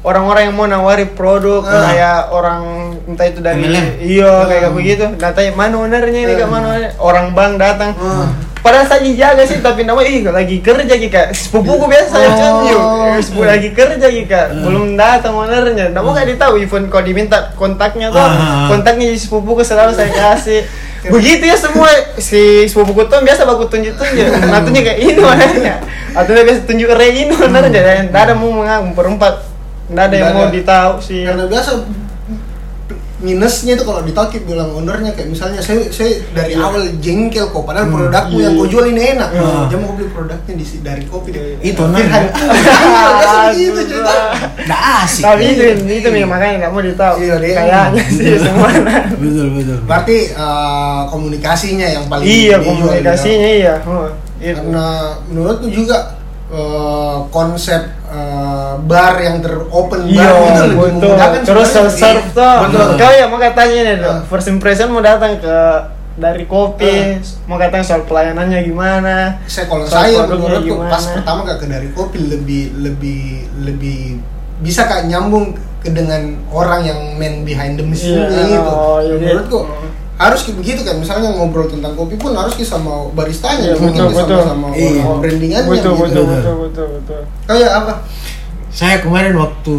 C: orang-orang yang mau nawari produk
B: Ah.
C: kayak orang entah itu dari
A: MLM.
C: iya kayak
A: Ah.
B: Hmm.
C: begitu nah tanya mana ownernya ini kak
B: Hmm.
C: mana ownernya?" orang bank datang
A: Ah.
B: Hmm.
C: padahal saya jaga sih tapi nama ih lagi kerja ki kak sepupuku biasa
B: Oh.
C: kan yuk sepupu lagi kerja ki kak belum datang ownernya nggak mau gak ditahu event kau diminta kontaknya tuh
A: Ah.
C: kontaknya di sepupuku selalu saya kasih begitu ya semua si sepupuku tuh biasa baku tunjuk tunjuk nah tunjuk kayak ini ownernya atau dia biasa tunjuk re ini ownernya dan nggak ada mau mengaku perempat nggak ada yang
B: Nggak
C: mau
B: ada.
C: ditahu sih
B: karena biasa minusnya itu kalau ditahu kayak bilang ownernya kayak misalnya saya saya dari
C: Iya.
B: awal jengkel kok padahal
C: Hmm,
B: produkku yang kau jual ini enak
C: Ah.
A: Hmm.
B: jangan mau beli produknya di dari kopi
C: Iya,
B: deh
A: itu nah
B: biasa gitu cerita
A: nggak asik
C: tapi itu itu memang makanya nggak mau ditahu
B: Iya, dia-
C: kayaknya sih semua
A: betul betul
B: berarti eh, komunikasinya yang paling dijual di
C: iya
B: dalam.
C: komunikasinya iya oh, iya.
B: karena menurutku juga eh, konsep eh, bar yang teropen bar
C: iya
B: itu lebih
C: betul
B: memudahkan
C: terus self
B: sebenarnya. iya,
C: serve tuh
B: Betul.
C: kau ya mau katanya nih dok
B: Ah.
C: first impression mau datang ke dari
B: Nah.
C: kopi mau katanya soal pelayanannya gimana
B: saya kalau
C: Soal
B: saya
C: produknya
B: menurutku
C: gimana.
B: pas pertama kak ke dari kopi lebih lebih lebih bisa kak nyambung ke dengan orang yang man behind the machine
C: Iya,
B: gitu
C: oh, iya, iya.
B: menurutku harus kayak begitu kan misalnya ngobrol tentang kopi pun harus kayak sama baristanya
C: Iya,
B: mungkin
C: betul,
B: kayak
C: betul.
B: sama sama
A: Iya.
B: orang brandingannya
C: betul
B: gitu
C: betul
A: Benar.
C: betul betul betul
B: kayak apa
A: saya kemarin waktu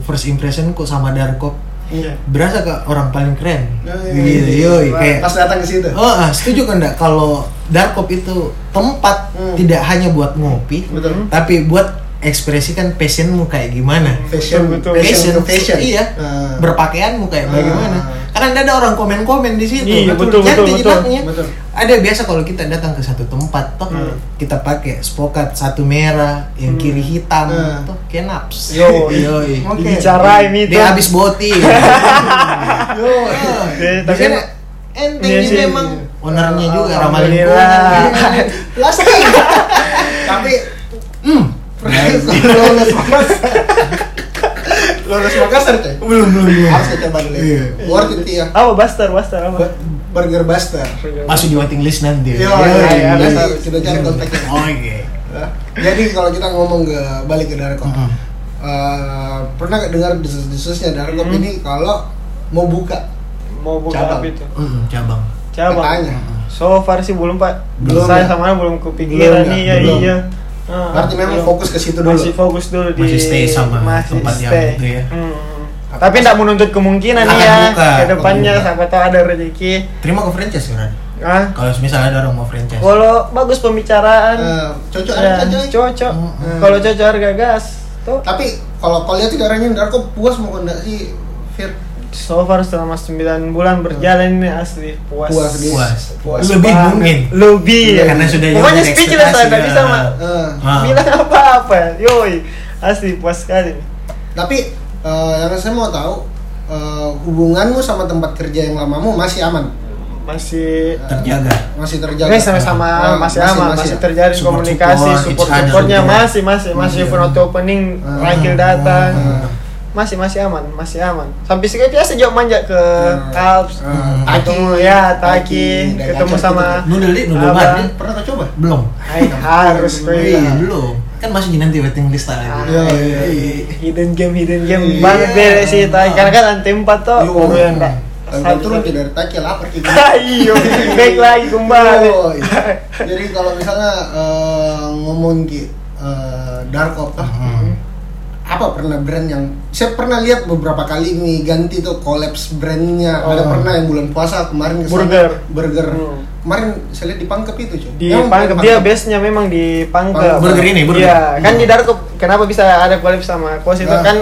A: first impression kok sama Darkop
C: iya
A: berasa ke orang paling keren
B: Eh,
A: gitu yoi kayak
B: pas datang ke situ
A: oh ah, setuju kan enggak kalau Darkop itu tempat
B: Hmm.
A: tidak hanya buat ngopi
B: betul
A: tapi buat ekspresikan passionmu kayak gimana
B: fashion
C: Betul, betul.
B: fashion
A: Fashion,
B: ke fashion
A: iya.
B: Ah.
A: berpakaianmu kayak
B: Ah.
A: bagaimana karena tidak ada orang komen-komen di situ
C: Iya, betul,
A: Jadi
C: betul, betul.
A: jejaknya.
B: Betul.
A: ada biasa kalau kita datang ke satu tempat toh
C: Hmm.
A: kita pakai spokat satu merah yang
C: Hmm.
A: kiri hitam
B: Hmm.
A: toh kenaps
C: Yo,
A: yoi
B: Oke.
C: dibicarain itu
A: dia habis boti yo
C: Iya,
A: Iya, tapi
C: tapi-
A: enteng
C: Iya
A: juga
C: sih.
A: emang ownernya juga ramah
C: Alhamdulillah.
A: lingkungan
B: plastik tapi
A: hmm
B: lulus Makassar lulus Makassar teh
A: belum belum belum
B: harus kita coba dulu
A: Iya.
B: worth it ya
C: apa buster buster apa
B: Ba- Burger Buster
A: masuk di waiting list nanti
B: Yo,
A: Yoi.
B: iya,
C: iya,
A: Yoi.
B: iya. Kita cari kontaknya.
A: Hmm. oke
B: Nah, jadi kalau kita ngomong ke balik ke Darko
C: Mm-hmm.
A: Mm-mm.
B: eh, pernah nggak dengar desas-desusnya Darko
C: Mm.
B: ini kalau mau buka
C: mau buka
B: Cabang.
C: apa itu
A: Mm, cabang
C: coba
B: katanya
C: so far sih belum pak
B: Belum, ya?
C: saya sama belum kepikiran
B: Belum, ya?
C: iya
B: Belum.
C: iya Ah,
B: berarti memang
C: belum.
B: fokus ke situ dulu
C: masih fokus dulu di
A: Masih stay sama tempat yang itu ya.
C: Hmm. Tapi tidak menuntut kemungkinan
A: Akan
C: nih ya.
A: buka,
C: Kedepannya
A: akan buka.
C: siapa tahu ada rezeki.
A: terima ke franchise ya Ran?
C: Ah,
A: kalau misalnya ada orang mau franchise
C: kalau bagus pembicaraan,
B: Eh, cocok
C: ya,
B: aja coy.
C: cocok.
A: Mm-mm.
C: Kalau cocok harga gas, tuh.
B: tapi kalau kau lihat darahnya darah kok puas mau enggak sih Fir
C: So far selama 9 bulan berjalan ini asli puas.
B: Puas, Gi.
A: puas
B: Puas
A: lebih
C: banget.
A: mungkin Iya kan?
C: Lebih.
A: Karena sudah
C: Pokoknya
A: jauh dari
C: speechless lah,
A: ekspektasi,
C: nggak bisa
A: ya.
C: mak.
B: Eh,
A: Ah.
C: Bilang apa-apa, yoi. Asli puas sekali.
B: tapi eh, yang saya mau tahu eh, hubunganmu sama tempat kerja yang lamamu masih aman Eh,
C: Masih
A: terjaga
B: masih terjaga
C: ini sama-sama
B: Ah,
C: masih aman, masih, terjadi
A: Support-support,
C: komunikasi,
A: each
C: support
A: other,
C: supportnya
A: gitu ya.
C: masih masih masih
A: Iya.
C: front opening,
B: Ah,
C: Raikil datang,
B: ah.
C: masih masih aman, masih aman. Sampai sekarang dia sejauh manja ke
B: Ah.
C: Eh, Alps,
B: Ah.
C: ketemu
B: Taki,
C: ya Taki,
B: dari
C: ketemu
B: Aceh
C: sama
A: nudel di nudel
C: Apa?
A: banget
B: pernah kau coba
A: belum
C: Hai, harus kau
B: Iya.
C: bilang.
A: belum kan masih di nanti waiting list lagi
C: Oh, Ah,
B: Iya, iya, iya.
C: hidden game hidden game
B: Iya.
C: banget beres sih Taki karena kan anti empat ya, tuh
B: Yo,
C: baru yang tak-
B: Kalau turun tidak dari taki lapar kita.
C: Ayo, gitu. baik lagi kembali.
B: Yo, iya. Jadi kalau misalnya eh, ngomong ki eh, dark ops lah,
A: Hmm.
B: apa pernah brand yang saya pernah lihat beberapa kali nih ganti tuh collapse brandnya. Ada
A: Oh.
B: pernah yang bulan puasa kemarin kesana,
C: Burger.
B: burger.
C: Hmm.
B: Kemarin saya lihat di pangkep itu cuy.
C: di
B: Emang
C: pangkep
B: bukan
C: dia base nya memang di pangkep
B: Pangkep. Burger
A: ini, burger.
C: iya kan di Darkup kenapa bisa ada kolab sama kos itu
B: Ah.
C: kan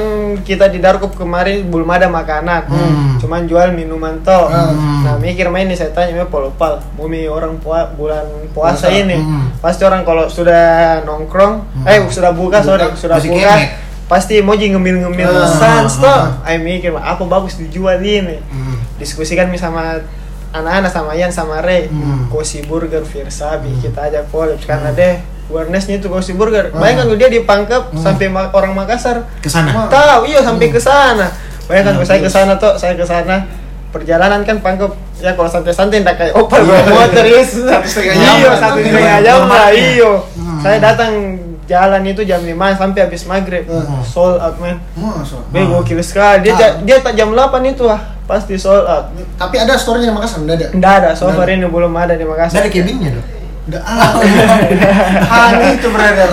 C: kita di Darkup kemarin belum ada makanan
A: Hmm.
C: cuman jual minuman toh
A: Hmm.
C: nah mikir main nih saya tanya "Memang polopal bumi orang pua- bulan puasa
B: Puasa.
C: ini
A: Hmm.
C: pasti orang kalau sudah nongkrong eh sudah
B: Buka.
C: buka, sorry sudah
A: Masih
C: buka
A: kemek.
C: pasti emoji ngemil-ngemil
B: Ah.
C: pesan toh ayo mikir apa bagus dijual ini
A: Hmm.
C: diskusikan nih sama anak-anak sama Ian sama Ray
A: Hmm.
C: Kosi Burger Virsabi kita ajak collab karena deh awarenessnya itu Kosi Burger bayangkan kalau dia dipangkep sampai ma- orang Makassar
A: kesana
C: tahu iya sampai ke sana bayangkan kalau saya ke sana tuh saya ke sana perjalanan kan pangkep ya kalau santai-santai tidak kayak
B: Iya.
C: opal bawa motor iya
B: Satu setengah jam.
C: iya satu setengah
A: Iya.
C: jam lah
A: Lemaknya.
C: iyo
A: Hmm.
C: saya datang jalan itu jam 5 sampai habis maghrib
A: Hmm.
C: sold out man
B: Masa?
C: Be gokil sekali. Dia
B: Ah.
C: ja- dia tak jam 8 itu ah, pasti sold out.
B: Tapi ada store-nya yang Makassar enggak ada.
C: Nggak ada, so
B: Nggak
C: far
B: ada.
C: ini belum ada di Makassar.
A: dari cabinnya dong
B: Nggak
C: Oh, iya.
B: ada. Ah, itu brother.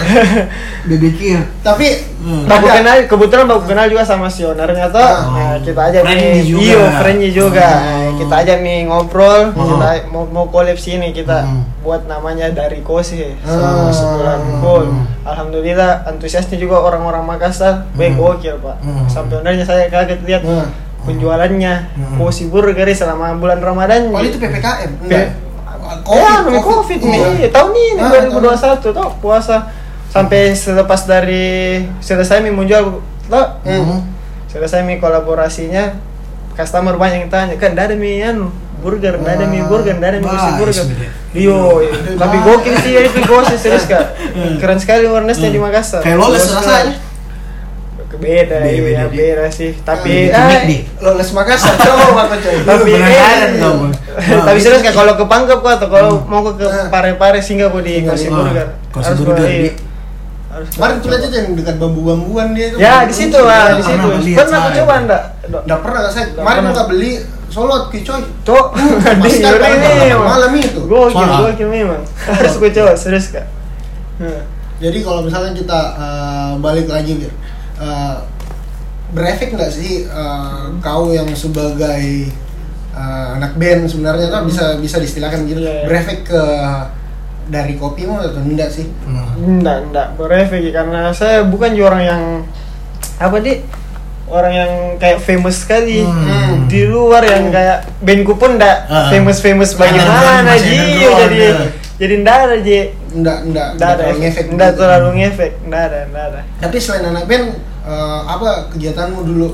A: bebekir
B: Tapi
A: Hmm.
C: Baku kenal, kebetulan baku kenal juga sama si ownernya tuh.
B: Ah.
C: Nah, kita aja
A: Friendly
C: nih,
A: juga.
C: iyo, friendly juga.
A: Hmm.
C: Nah, kita aja nih ngobrol,
A: Hmm.
C: kita mau mau collab sini kita
A: Hmm.
C: buat namanya dari Kosi
B: Hmm.
C: selama sebulan full.
A: Hmm.
C: Alhamdulillah antusiasnya juga orang-orang Makassar, be
A: Hmm.
C: gokil pak.
A: Hmm.
C: Sampai ownernya saya kaget lihat
B: Hmm.
C: penjualannya
A: Hmm.
C: Kosi Burger selama bulan Ramadan.
B: Oh itu PPKM?
C: Pe- ya, namanya COVID, nih. Iya, tahun ini
B: Ah,
C: 2021 tuh puasa sampai selepas dari selesai mi muncul tuh
B: Hmm.
C: selesai mi kolaborasinya customer banyak yang tanya kan dari mi anu burger dari mi burger dari mi
A: Wah,
C: usi burger
A: bismillah.
C: Yo, tapi
B: Wah.
C: gokil sih ya itu gosip serius kak. Keren sekali awarenessnya di Makassar.
A: kayak lolos
B: Lolos
A: rasanya
C: gitu.
A: Beda,
C: Beda, iya,
A: beda,
C: beda sih.
A: Bikin
C: Tapi, eh,
A: McD.
B: Lolos Makassar, Oh, coba kau coy.
C: tapi
A: Beneran
C: eh,
A: ada dong.
C: eh,
A: Ah,
C: tapi serius kan kalau ke Pangkep kok atau kalau mau ke, ke
B: Hmm.
C: Pare-Pare singgah kok di
B: Singgah
C: Kosi
B: di-
C: Burger.
A: ah, Kosi
C: Harus
A: Burger,
C: gua- iya.
A: di-
C: Harus
B: Kemarin
C: gua
B: tuh aja
C: coba.
B: yang dekat bambu-bambuan dia itu.
C: Ya, di situ lah, di
A: Pernah
C: situ.
A: lihat,
C: Pernah aku
A: saya.
C: coba enggak?
B: Nggak pernah nggak saya.
C: Nggak
B: Kemarin
C: pernah.
B: nggak beli solot ki coy.
C: Cok, di
B: Pasti
C: Yuri
B: akan
C: ini.
B: malam malam
C: iya.
B: itu.
C: Gokil,
A: Soalnya.
C: gokil memang. Harus gua coba, serius kak. Hmm.
B: Jadi kalau misalnya kita eh, balik lagi, Bir, Eh, berefek nggak sih eh,
C: Hmm.
B: kau yang sebagai eh, anak band sebenarnya kan bisa bisa diistilahkan gitu,
C: Hmm. Iya, iya.
B: berefek ke dari kopimu atau enggak sih?
A: Hmm.
C: Enggak, enggak berefek karena saya bukan juga orang yang apa di orang yang kayak famous sekali
A: Hmm.
C: di luar
B: Hmm.
C: yang kayak bandku pun enggak
A: Ah.
C: famous famous bagaimana
A: Masih
C: ji
A: underground,
C: jadi
A: ya.
C: jadi enggak ada ji
B: Enggak, enggak,
C: enggak ada
B: terlalu
C: efek
B: ngefek
C: enggak
B: gitu.
C: terlalu ngefek enggak ada enggak ada
B: Tapi selain anak band, eh, apa kegiatanmu dulu?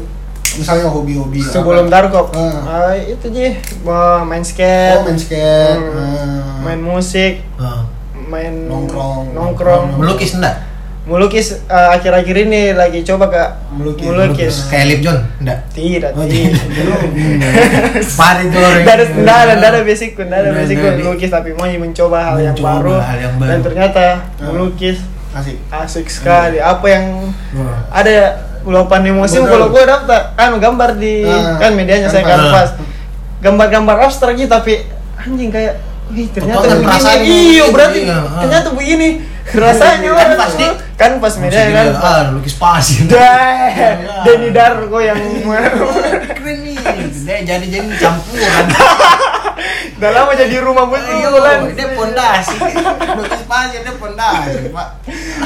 B: Misalnya hobi-hobi.
C: sebelum
B: apa?
C: darkop
B: Ah.
C: eh, itu ji mau main skate
B: Oh, main skate.
C: Hmm.
B: eh,
C: main musik
A: Ah.
C: main
B: Nongkrong.
C: nongkrong
A: melukis enggak
C: melukis eh, akhir-akhir ini lagi coba kak
B: Melukis.
C: melukis.
B: Melukis.
A: kayak Lip John enggak
C: tidak
A: Oh,
C: tidak
A: Pari goreng.
C: Nggak ada, nggak ada, nggak ada basic nggak ada
A: Nggak
C: basic
A: ada.
C: melukis tapi mau mencoba hal yang
A: Mencoba
C: baru
A: hal yang baru.
C: dan ternyata melukis
B: Asik.
C: asik sekali apa yang
A: Wah.
C: ada luapan emosi
B: Betul.
C: kalau gue daftar kan gambar di
B: Ah,
C: kan medianya saya
B: kanvas.
C: kanvas gambar-gambar abstrak gitu tapi anjing kayak Wih, ternyata
B: Tontonan
C: begini.
B: rasanya.
C: Iyo, berarti
A: Iya, ah.
C: ternyata begini rasanya.
A: Kan
C: waduh.
A: pasti
C: kan pas media kan
A: ah lukis pasir
C: dah Denny Darko yang
A: keren nih dia jadi jadi campuran
C: udah lama jadi rumah gitu kan.
A: Oh,
C: betulan
A: dia pondasi lukis pasir dia pondasi pak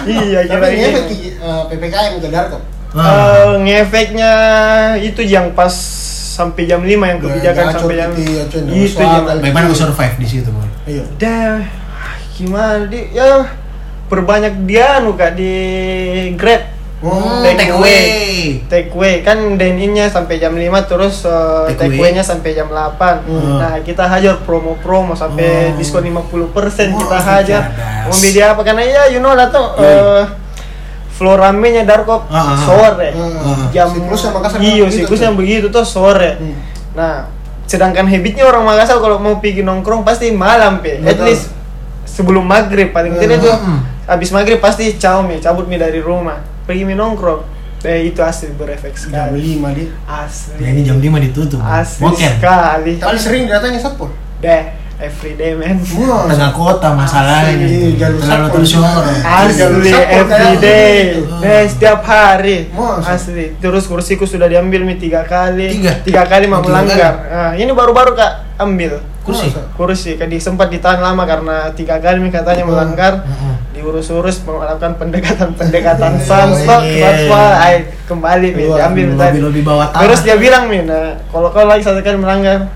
C: iya
B: Tapi
C: kira-kira
B: ngefek eh, PPKM ke Darko.
C: Eh, ngefeknya itu yang pas sampai jam 5 yang kebijakan
B: Gacor
C: sampai jam iya,
B: gitu ya, cuy, nggak
C: itu
B: soal
C: yang
B: kali.
A: bagaimana gue survive di situ boy
B: Iya.
C: udah gimana di ya perbanyak dia nu kak di grab
B: Oh,
A: Hmm,
C: Take away. take away kan dine-nya sampai jam 5 terus uh,
A: Take
C: take
A: away.
C: away-nya sampai jam 8.
A: Hmm.
C: Nah, kita hajar promo-promo sampai
A: Oh.
C: diskon 50% kita
A: Wah,
C: hajar.
A: cerdas.
C: Mau dia apa karena ya you know lah tuh
A: Yoi.
C: uh, flow ramenya Darkop
A: Ah, ah, ah.
C: sore.
B: Ah,
C: Jam
B: siklus yang Makassar memang
C: Iya,
B: begitu
A: Gitu,
C: siklus
B: tuh.
C: yang begitu tuh sore.
B: Hmm.
C: Nah, sedangkan habitnya orang Makassar kalau mau pergi nongkrong pasti malam, Pe. At
B: Betul.
C: least sebelum maghrib paling tidak
B: Hmm.
C: tuh abis maghrib pasti caw mi cabut mi dari rumah pergi mi nongkrong eh itu asli berefek
B: Jam
C: sekali
B: lima dia.
C: asli
A: jadi Nah, jam 5 ditutup Boy.
C: asli
A: Boker.
C: sekali
B: Tapi sering datangnya satpol.
C: deh everyday man
B: Wah,
A: tengah kota masalahnya
B: Asli, jalur
A: terlalu
B: satpol.
A: tersorot
B: Jalur
C: asli
B: support
C: everyday
A: kayak gitu.
C: deh setiap hari
B: Masa?
C: asli terus kursiku sudah diambil mi tiga kali
A: Tiga?
C: kali mau
A: Tiga
C: melanggar Ah, ini baru-baru kak ambil
A: kursi
B: Masa?
C: kursi Kadi sempat ditahan lama karena tiga kali mi katanya
B: Hmm.
C: melanggar
A: Heeh.
C: diurus-urus melakukan pendekatan-pendekatan sunstock
A: Iya.
C: satpol ay kembali min
B: Keluar,
C: diambil min tadi
A: lebih lebih bawah tanah
C: terus dia bilang min nah, kalau kau lagi satu kali melanggar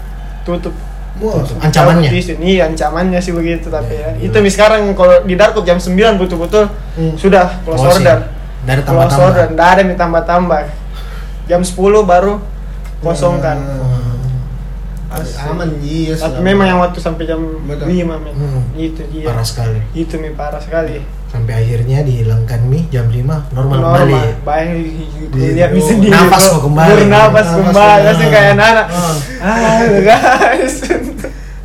C: tutup
B: Wah,
A: ancamannya
C: Cabut isin. iya ancamannya sih begitu tapi ya itu mi sekarang kalau di darkop jam 9 betul-betul
B: Hmm.
C: sudah close
A: Closing.
C: order
A: dari
C: close order
A: tambah-tambah
C: nggak ada mi tambah-tambah jam 10 baru kosongkan
A: Hmm.
B: Asli. Ah, Aman iya.
C: tapi memang yang waktu sampai jam
B: Betul.
C: 5 min
A: Hmm.
C: itu dia
A: parah sekali
C: itu mi parah sekali
A: sampai akhirnya dihilangkan mie jam 5 normal,
C: normal
A: balik
C: baik
B: Di-
C: lihat di sendiri
A: Nafas
C: bro.
A: kok kembali.
C: bernafas
B: Nafas
C: kembali
B: kembali. Oh.
C: pasti kayak anak
A: Ah.
C: ah guys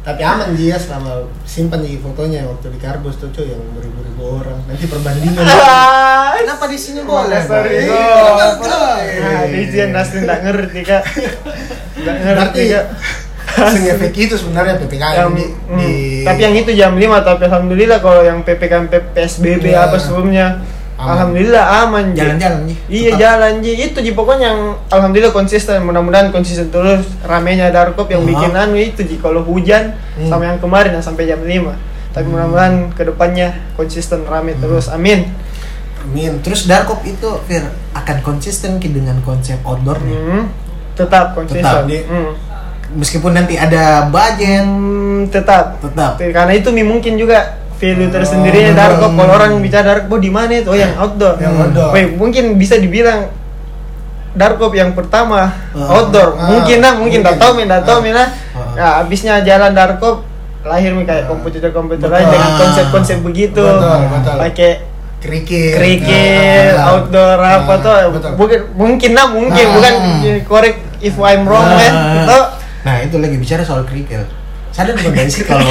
B: Tapi aman dia selama simpan nih fotonya waktu di karbos tuh cuy yang beribu-ribu orang. Nanti perbandingan.
A: kenapa di sini
B: Iya,
C: sorry bro.
B: boleh.
C: Nah, itu yang Nasri nggak ngerti kak nggak ngerti
B: Berarti
C: kak
B: Sengefek itu sebenarnya PPKM
C: yang,
B: di,
C: hmm,
B: di
C: tapi yang itu jam 5 tapi alhamdulillah kalau yang PPKM PSBB
B: Iya.
C: apa sebelumnya
B: Aman.
C: alhamdulillah aman Ji.
A: jalan-jalan nih
C: Iya jalan Ji. itu Ji pokoknya yang alhamdulillah konsisten mudah-mudahan konsisten terus ramenya Darkop yang
A: Aha.
C: bikin anu itu Ji kalau hujan
A: Hmm.
C: sama yang kemarin yang sampai jam 5 tapi mudah-mudahan kedepannya konsisten rame terus amin
B: Amin.
A: Terus Darkop itu Fir akan konsisten ki dengan konsep outdoornya.
C: Hmm. tetap konsisten
A: Tetap,
B: Ji.
C: Hmm.
A: Meskipun nanti ada budget,
C: Hmm, tetap
A: tetap.
C: karena itu mi mungkin juga value
B: Hmm.
C: tersendirinya Darkop kalau orang bicara Darkop di mana itu oh, yang outdoor
B: Yang
A: Hmm.
B: outdoor.
C: Weh, mungkin bisa dibilang Darkop yang pertama
A: Ah.
C: outdoor.
B: Ah,
C: mungkin lah,
B: mungkin.
C: mungkin enggak tahu min, enggak tahu
B: Ah.
C: min lah.
A: Ah.
C: Nah, habisnya jalan Darkop lahir nih kayak
B: Ah.
C: komputer-komputer
B: Betul.
C: lain dengan konsep-konsep begitu.
B: Betul, betul. Iya,
C: Pakai
B: Kerikil.
C: kerikil,
B: Nah,
C: outdoor
B: nah,
C: apa tuh?
B: betul.
C: Mungkin mungkin lah, mungkin
B: Ah.
C: bukan correct if I'm wrong
A: Nah.
C: man. Oh. Itu
A: Nah itu lagi bicara soal kerikil. Sadar nggak guys sih kalau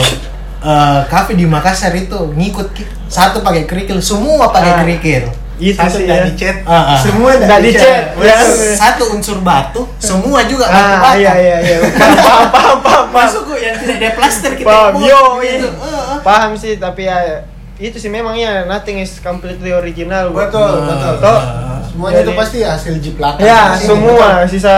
A: eh, kafe di Makassar itu ngikut ki- satu pakai kerikil, semua pakai
C: Ah.
A: kerikil.
C: itu
B: Satu
C: sih
B: nggak
C: ya.
B: dicet.
A: Ah, ah.
B: Semua
C: Nggak
B: nggak
C: dicet.
B: dicet.
C: Ya.
A: Satu unsur batu, semua juga batu
C: Ah,
A: bata.
C: iya iya iya. Paham paham paham paham.
A: Masuk kok yang tidak ada plaster kita
C: Paham,
A: ikut,
C: yo,
A: gitu.
C: iya.
A: Eh, eh.
C: Paham sih, tapi ya itu sih memangnya nothing is completely original. bro.
B: Betul, betul.
C: Toh,
B: Semuanya itu
C: Jadi-
B: pasti hasil jiplakan.
A: Iya,
C: Ya,
B: Pasti gitu.
C: semua sisa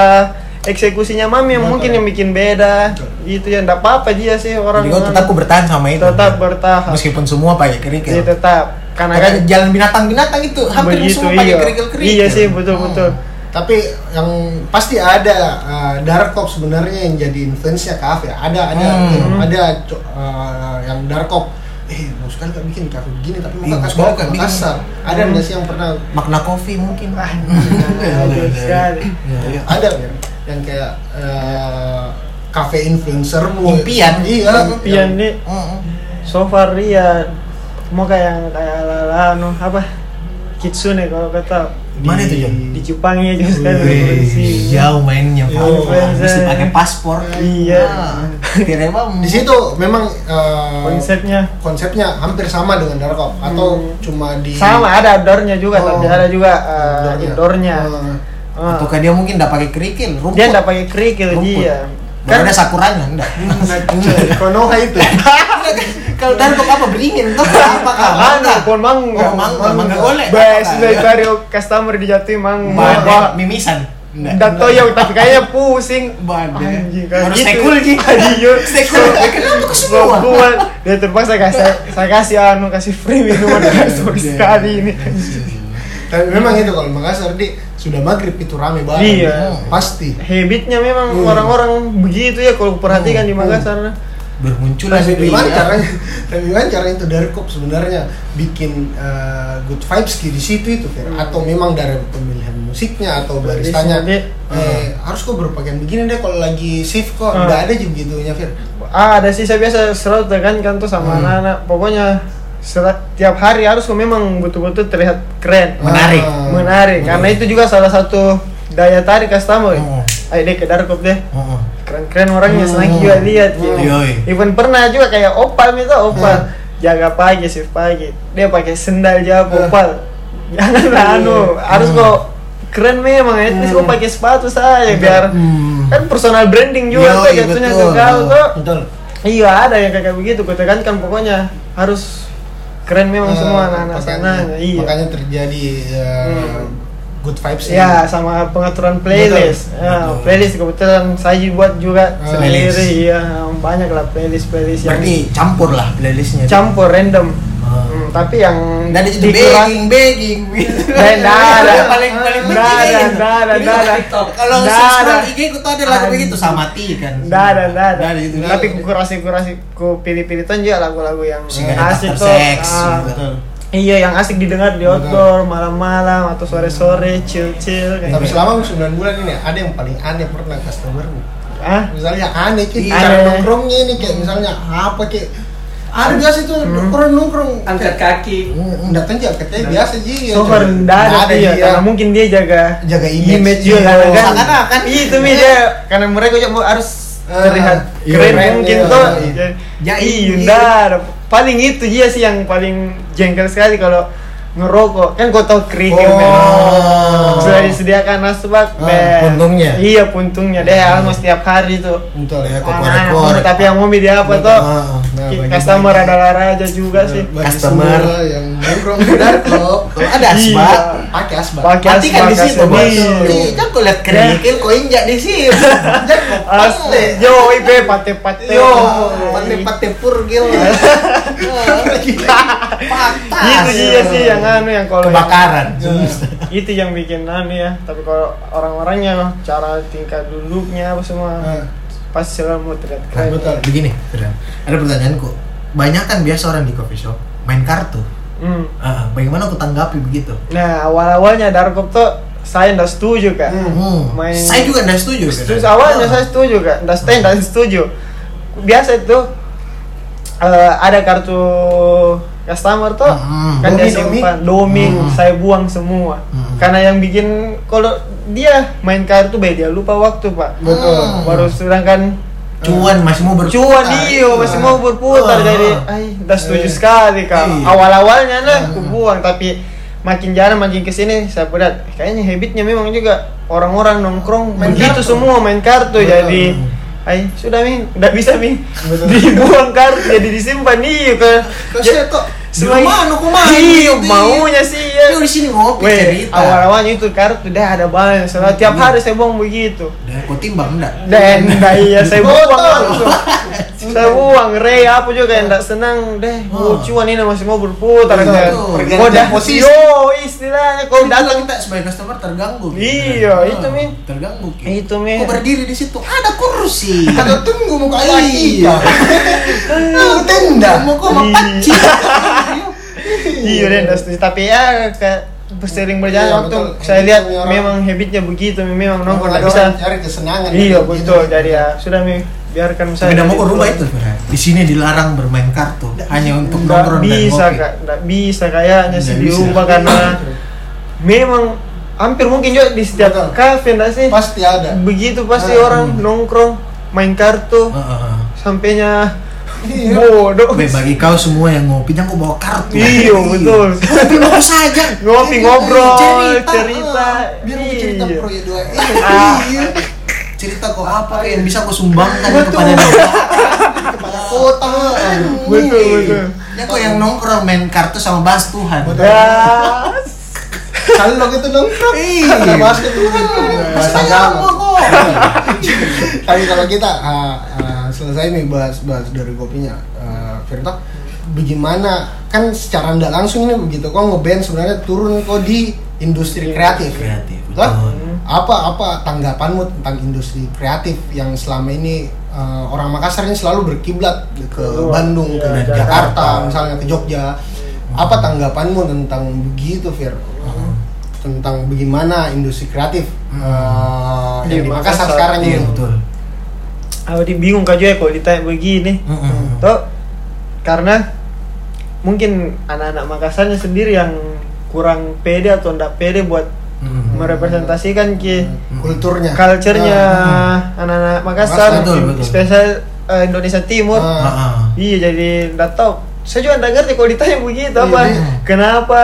C: eksekusinya mami yang
B: Betul.
C: mungkin yang bikin beda.
B: Betul.
C: Itu yang enggak apa-apa dia sih orang.
A: Jadi kau tetap ku bertahan sama itu.
C: Tetap bertahan.
A: Meskipun semua pakai kerikil.
C: Iya, tetap. Karena kan
A: Karena jalan binatang-binatang itu hampir
C: begitu
A: semua pakai
C: iya.
A: kerikil-kerikil.
C: Iya sih, betul
A: Hmm.
C: betul.
B: tapi yang pasti ada uh, dark cop sebenarnya yang jadi influence-nya kafe ada ada
A: Hmm.
B: ada co- uh, yang dark cop eh mau sekali gak bikin kafe begini tapi
A: Iya,
B: muka
A: mau
B: kafe
A: sekali
B: Dark
A: nggak
B: Makassar ada nggak sih yang pernah
A: Makna kopi mungkin.
C: Ah,
A: Iya,
C: aduh,
A: iya.
C: sekali.
A: Iya, iya.
B: ada ya yang kayak uh, kafe influencer mu
A: Impian.
B: iya
C: Pian nih
A: Mm-mm.
C: so far dia mau kayak yang kayak ala anu apa? Kitsune kalau kata
A: Mana itu, Jon?
C: di Jepang ya just kan
A: Wih,
C: revolusi.
A: jauh mainnya Pak.
B: Jauh,
A: Mesti
C: Pak.
A: pakai paspor. Ah,
C: Iya.
A: Tirewa
B: di situ memang uh,
C: Konsepnya
B: konsepnya hampir sama dengan dark cop atau cuma
A: Iya.
B: di
C: Hmm. sama ada outdoornya juga
B: Oh.
C: tapi ada juga uh,
B: Outdoor-nya.
C: indoornya.
B: Uh,
C: Ah.
A: Ataukah dia mungkin enggak pakai kerikil, Oh. rumput.
C: dia nggak pakai kerikil
A: Rumput.
C: dia
A: Baru
C: Kan-
A: ada sakuranya enggak.
B: Eh, Konoha itu.
A: Kalau dan kok apa beringin tuh apa kabar?
C: Mangga, pohon mangga.
A: Oh, mangga, mangga golek.
C: Bes,
A: Mangga.
C: dari dari customer di Jatim
A: Badai,
C: mangga.
A: mimisan. Nggak.
C: Dato ya, tapi kayaknya pusing.
A: Badai.
C: Anjing, kayak
A: Harus
C: gitu.
A: stay cool, Ji.
C: Iya.
A: Stay cool. Ya, Kenapa ke semua?
C: Gua dia terpaksa kasih saya kasih anu kasih free minuman sorry sekali ini.
B: Tapi memang itu kalau Makassar di sudah maghrib itu rame banget. Hmm,
C: Iya.
B: Pasti.
C: Habitnya memang
B: Hmm.
C: orang-orang begitu ya kalau perhatikan di
B: Hmm.
C: Makassar.
A: Bermunculan
B: Tapi
C: Iya.
A: di
B: gimana caranya? Tapi gimana caranya itu dari kop sebenarnya bikin eh, good vibes di situ itu, Fer?
C: Hmm.
B: atau memang dari pemilihan musiknya atau
C: Dari
B: baristanya?
C: sini,
B: Eh, harus kok berpakaian begini deh kalau lagi shift kok
C: Hmm.
B: nggak ada juga gitunya Fir
C: Ah, ada sih saya biasa selalu tekankan tuh sama
B: Hmm.
C: anak-anak. Pokoknya setiap tiap hari harus memang betul-betul terlihat keren.
A: Menarik.
B: Ah,
C: menarik karena itu juga salah satu daya tarik customer
A: Hmm.
C: ayo deh ke Darkop deh
A: Heeh.
C: keren-keren orangnya senang
A: Hmm.
C: juga lihat gitu
A: Yoi. Hmm.
C: even pernah juga kayak opal itu opal jaga pagi shift pagi dia pakai sendal jawab
B: Hmm.
C: opal jangan lah, anu harus
A: Hmm.
C: kok keren memang at least
B: Hmm.
C: kok pakai sepatu saja biar
A: Hmm.
C: kan personal branding juga tuh
A: Yoi,
C: jatuhnya ke
A: betul. Hmm.
C: kau tuh
B: betul
C: iya ada yang kayak begitu kutekankan pokoknya harus keren memang
B: Eh,
C: semua anak-anak
B: makanya-
C: sana iya
B: makanya terjadi eh,
C: Hmm.
B: good vibes ini.
C: Ya, sama pengaturan playlist.
B: Betul.
C: Ya,
A: Betul.
C: playlist kebetulan saya buat juga
B: Ah.
C: sendiri. Ya, banyak lah playlist playlist yang
A: Berarti campur lah playlistnya.
C: campur random.
A: Ah.
C: Hmm, tapi yang
A: Dan itu
C: dikurang-
A: begging, begging.
C: Dan ada.
A: paling paling
C: Nggak ada,
A: penting.
C: nggak ada, nggak ada.
A: Kalau
C: Nggak
A: subscribe
C: ada.
A: IG ku tuh ada lagu
C: Ada.
A: begitu sama mati kan.
C: Nggak ada, nggak ada.
A: Nggak ada gitu, kan? itu.
C: Tapi ku kurasi kurasi ku pilih pilih tuh juga lagu-lagu yang
A: Singa
C: asik
A: Daftar
C: tuh.
A: Seks,
C: Ah,
A: juga.
B: betul
C: iya, yang asik didengar di outdoor malam-malam atau sore-sore chill-chill kayak
B: tapi
C: gitu.
B: selama 9 bulan ini ada yang paling aneh pernah customermu
C: Ah,
B: misalnya aneh kayak
C: Iya.
B: cara
C: Aneh.
B: nongkrongnya ini kayak misalnya apa kayak ada biasa itu
C: Hmm.
B: nongkrong nongkrong Hmm,
D: angkat kaki
B: datang aja katanya biasa aja
C: Sober nggak ada dia, karena mungkin dia jaga
B: iya. jaga image, iya.
C: image juga karena kan
A: Seakan-akan.
C: itu nih dia Iya. karena mereka juga harus
B: Ah,
C: terlihat
B: iya,
C: keren
B: keren,
C: mungkin
B: iya,
C: tuh
B: iya.
A: Ya,
C: iya
A: iya.
C: ntar. paling itu dia sih yang paling jengkel sekali kalau ngerokok kan kau tahu kerikil
B: Oh.
C: memang. sudah disediakan nasbak
B: Ah,
C: Bes.
B: puntungnya.
C: iya puntungnya deh harus setiap hari tuh
B: betul ya Ah, nah, kok
C: Anak-anak muda, tapi yang mau dia apa tuh customer adalah raja juga sih
B: Bagi
A: Customer.
B: semua yang nongkrong di darkop
A: Kalau ada
C: Iya.
A: asbak,
B: pakai asbak
C: Pakai
A: mati kan
C: asbak,
A: di situ.
C: asbak.
A: Bang.
C: Iya.
A: Ih, kan kau lihat kerikil, kau injak di situ. Jangan kau
C: Asli, Iya.
A: pandai.
C: yo, ibe, pate, pate,
A: Yo, pate-pate purgil.
C: Iya.
A: Ah, Patah.
C: itu dia sih yang anu yang kalau yang-
A: kebakaran.
C: Iya. itu yang bikin aneh ya tapi kalau orang-orangnya cara tingkat duduknya apa semua
A: Hmm.
B: Eh,
C: pasti selalu mau terlihat
A: Nah,
C: keren
B: betul.
A: begini, Ferdinand. ada pertanyaanku. Banyak kan biasa orang di coffee shop main kartu.
C: Hmm.
A: Ah, bagaimana aku tanggapi begitu?
C: nah awal-awalnya Darkop tuh saya nggak setuju kak
B: Hmm.
A: Hmm.
C: Main-
A: Saya juga nggak setuju.
C: terus
A: Ferdinand.
C: awalnya
A: Ah.
C: saya setuju kak nggak saya nggak setuju biasa itu eh, ada kartu customer tuh
A: Hmm.
C: kan dia
B: Domi, domi.
C: simpan domi
A: Hmm.
C: saya buang semua
A: Hmm.
C: karena yang bikin kalau dia main kartu baik dia lupa waktu pak
B: betul
A: Hmm.
C: baru sedangkan
A: cuan masih mau berputar.
C: Cuan iyo masih mau berputar
A: iya. Ah.
C: dari ay udah setuju
B: Eh.
C: sekali kak
A: Iya. ah.
C: awal-awalnya nah aku buang tapi makin jarang makin kesini saya berat kayaknya habitnya memang juga orang-orang nongkrong
B: Main
C: begitu
B: kartu.
C: semua main kartu
B: Betul.
C: jadi ay sudah min nggak bisa min
B: Betul.
C: dibuang kartu jadi disimpan iyo kan
B: Kau sih kok
A: Semua mana aku main.
C: iyo
A: gitu.
C: Iya, maunya sih ya
A: Dia di sini ngopi
C: Weh,
A: cerita. Iya.
C: awal-awalnya itu kartu dah ada banyak, soalnya tiap hari saya buang begitu.
A: Dan kau timbang enggak?
C: Dan dah iya saya buang
B: Kotor.
C: langsung. Saya buang Ray apa juga yang enggak senang deh.
A: Oh.
C: Oh, cuan ini masih mau berputar
B: Betul.
C: kan.
A: Pergantian
C: Kau dah
B: posisi.
C: Yo, istilahnya kau
A: Kalau datang
C: datang
A: kita sebagai customer terganggu. gitu.
C: Iya,
A: Ah,
C: itu, Min.
A: Terganggu. Ki.
C: Itu,
A: Kau
C: Min.
A: berdiri di situ ada kursi.
B: kata tunggu mau kau
A: Iya.
B: Lu tenda
A: Mau kau mau
C: Iya.
A: panci.
C: iya dan enggak setuju. tapi ya ke sering berjalan
B: Iya,
C: waktu
B: betul.
C: saya
B: Habitnya
C: lihat
B: orang.
C: memang habitnya begitu memang nongkrong
B: nongkrong
C: enggak bisa.
B: cari kesenangan
C: Iya,
B: gitu.
C: betul. Jadi ya sudah mi biarkan
A: Tapi
C: saya.
A: mau ke rumah ya. itu sebenarnya. Di sini dilarang bermain kartu hanya untuk
C: Nggak
A: nongkrong dan
C: bisa
A: ngopi.
C: kak, Ya, nggak bisa kayaknya sih
A: Nggak bisa.
C: diubah karena
B: Iya.
C: memang hampir mungkin juga di setiap
B: Betul.
C: kafe enggak sih?
B: pasti ada
C: begitu pasti
B: Ah,
C: orang nongkrong main kartu
A: Ah, ah, ah.
C: Oh, sampainya
B: Iya.
C: bodoh
A: Be, bagi kau semua yang ngopi jangan kau bawa kartu.
C: Iya, betul.
A: Ngopi ngopi saja.
C: ngopi ngobrol cerita,
B: ah, biar aku cerita
C: Iya.
B: proyek dua ini
C: Ah.
B: Iya.
A: cerita kok apa kayak yang bisa kau sumbangkan kepada dia
B: kepala kota
C: Betul, betul.
A: ya kok yang nongkrong main kartu sama bahas Tuhan Iya.
B: Betul.
C: Gas.
B: kalau lo gitu dong
C: Iya.
B: karena bahas itu kan
A: Bahas agama kok
B: tapi kalau kita ah, ah, selesai nih bahas bahas dari kopinya Ah, Firta bagaimana kan secara ndak langsung ini begitu kok ngeband sebenarnya turun kok di industri kreatif
A: kreatif
B: Betul?
A: betul
B: apa apa tanggapanmu tentang industri kreatif yang selama ini eh, orang Makassar ini selalu berkiblat ke
C: Keluar.
B: Bandung ke
A: Iya,
B: Jakarta,
A: Jakarta.
B: misalnya ke Jogja apa tanggapanmu tentang begitu Fir
A: Iya.
B: tentang bagaimana industri kreatif eh,
C: Di
B: yang di Makassar
C: Makassar.
B: sekarang ini
A: iya betul
C: Aku di bingung kak Joy kalau ditanya begini.
A: Mm-mm.
C: Tuh, karena mungkin anak-anak Makassarnya sendiri yang kurang pede atau ndak pede buat
A: Mm-mm.
C: merepresentasikan ki
B: kulturnya Ah.
C: culture-nya anak-anak Makassar,
A: Makassar, betul, betul.
C: spesial eh, Indonesia Timur.
B: Ah.
A: Ah, ah.
C: Iya jadi nggak tahu. Saya juga nggak ngerti kalau ditanya begitu apa.
B: Iya.
C: Kenapa?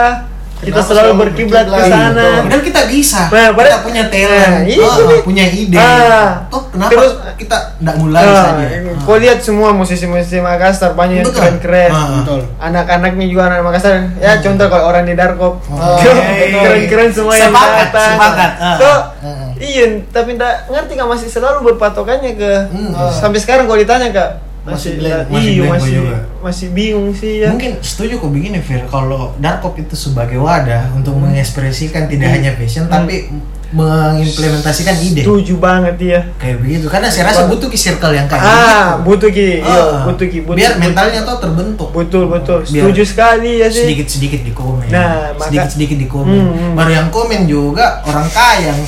C: Kita
B: Kenapa
C: selalu
B: selalu
C: berkiblat ke
B: berkiblat?
C: sana.
B: Betul.
A: Dan kita bisa,
C: Nah,
A: kita
C: padahal-
A: punya
C: Nah,
A: talent,
C: iya,
A: ah,
C: jadi-
A: punya ide.
C: Ah.
A: Toh kenapa
C: Terus-
A: kita nggak mulai
C: Nah,
A: saja? Ah.
C: Kau lihat semua musisi-musisi Makassar banyak yang
A: Betul.
C: keren-keren.
A: Ah.
B: betul
C: Anak-anaknya juga anak Makassar. Ya contoh kalau orang di Darkop.
B: Oh,
A: iya, iya.
C: keren-keren semua yang
A: Sepakat,
C: datang.
A: sepakat. Ah.
C: So,
A: Ah.
C: iya, tapi nggak ngerti kak masih selalu berpatokannya ke Ah.
A: Hmm.
C: sampai sekarang kalau ditanya kak
B: Masih
A: masih
B: blank,
C: iya,
A: blank gua
C: masih,
A: juga.
C: masih bingung sih ya.
A: Mungkin setuju kok begini Fir, kalau Darkop itu sebagai wadah untuk mengekspresikan tidak
C: Hmm.
A: hanya fashion
C: Hmm.
A: tapi mengimplementasikan ide.
C: Setuju banget ya.
A: Kayak begitu, karena saya rasa butuh ki circle yang kayak
C: Ah,
A: gitu.
C: butuh ki, iya,
A: Ah.
C: butuh ki, butuh.
A: Biar
C: butuh.
A: mentalnya tuh terbentuk.
C: Betul, betul.
A: Biar-
C: Setuju sekali ya sih.
A: sedikit-sedikit di komen
C: Nah, maka-
A: sedikit-sedikit di komen
C: Hmm, hmm.
A: baru yang komen juga orang kaya yang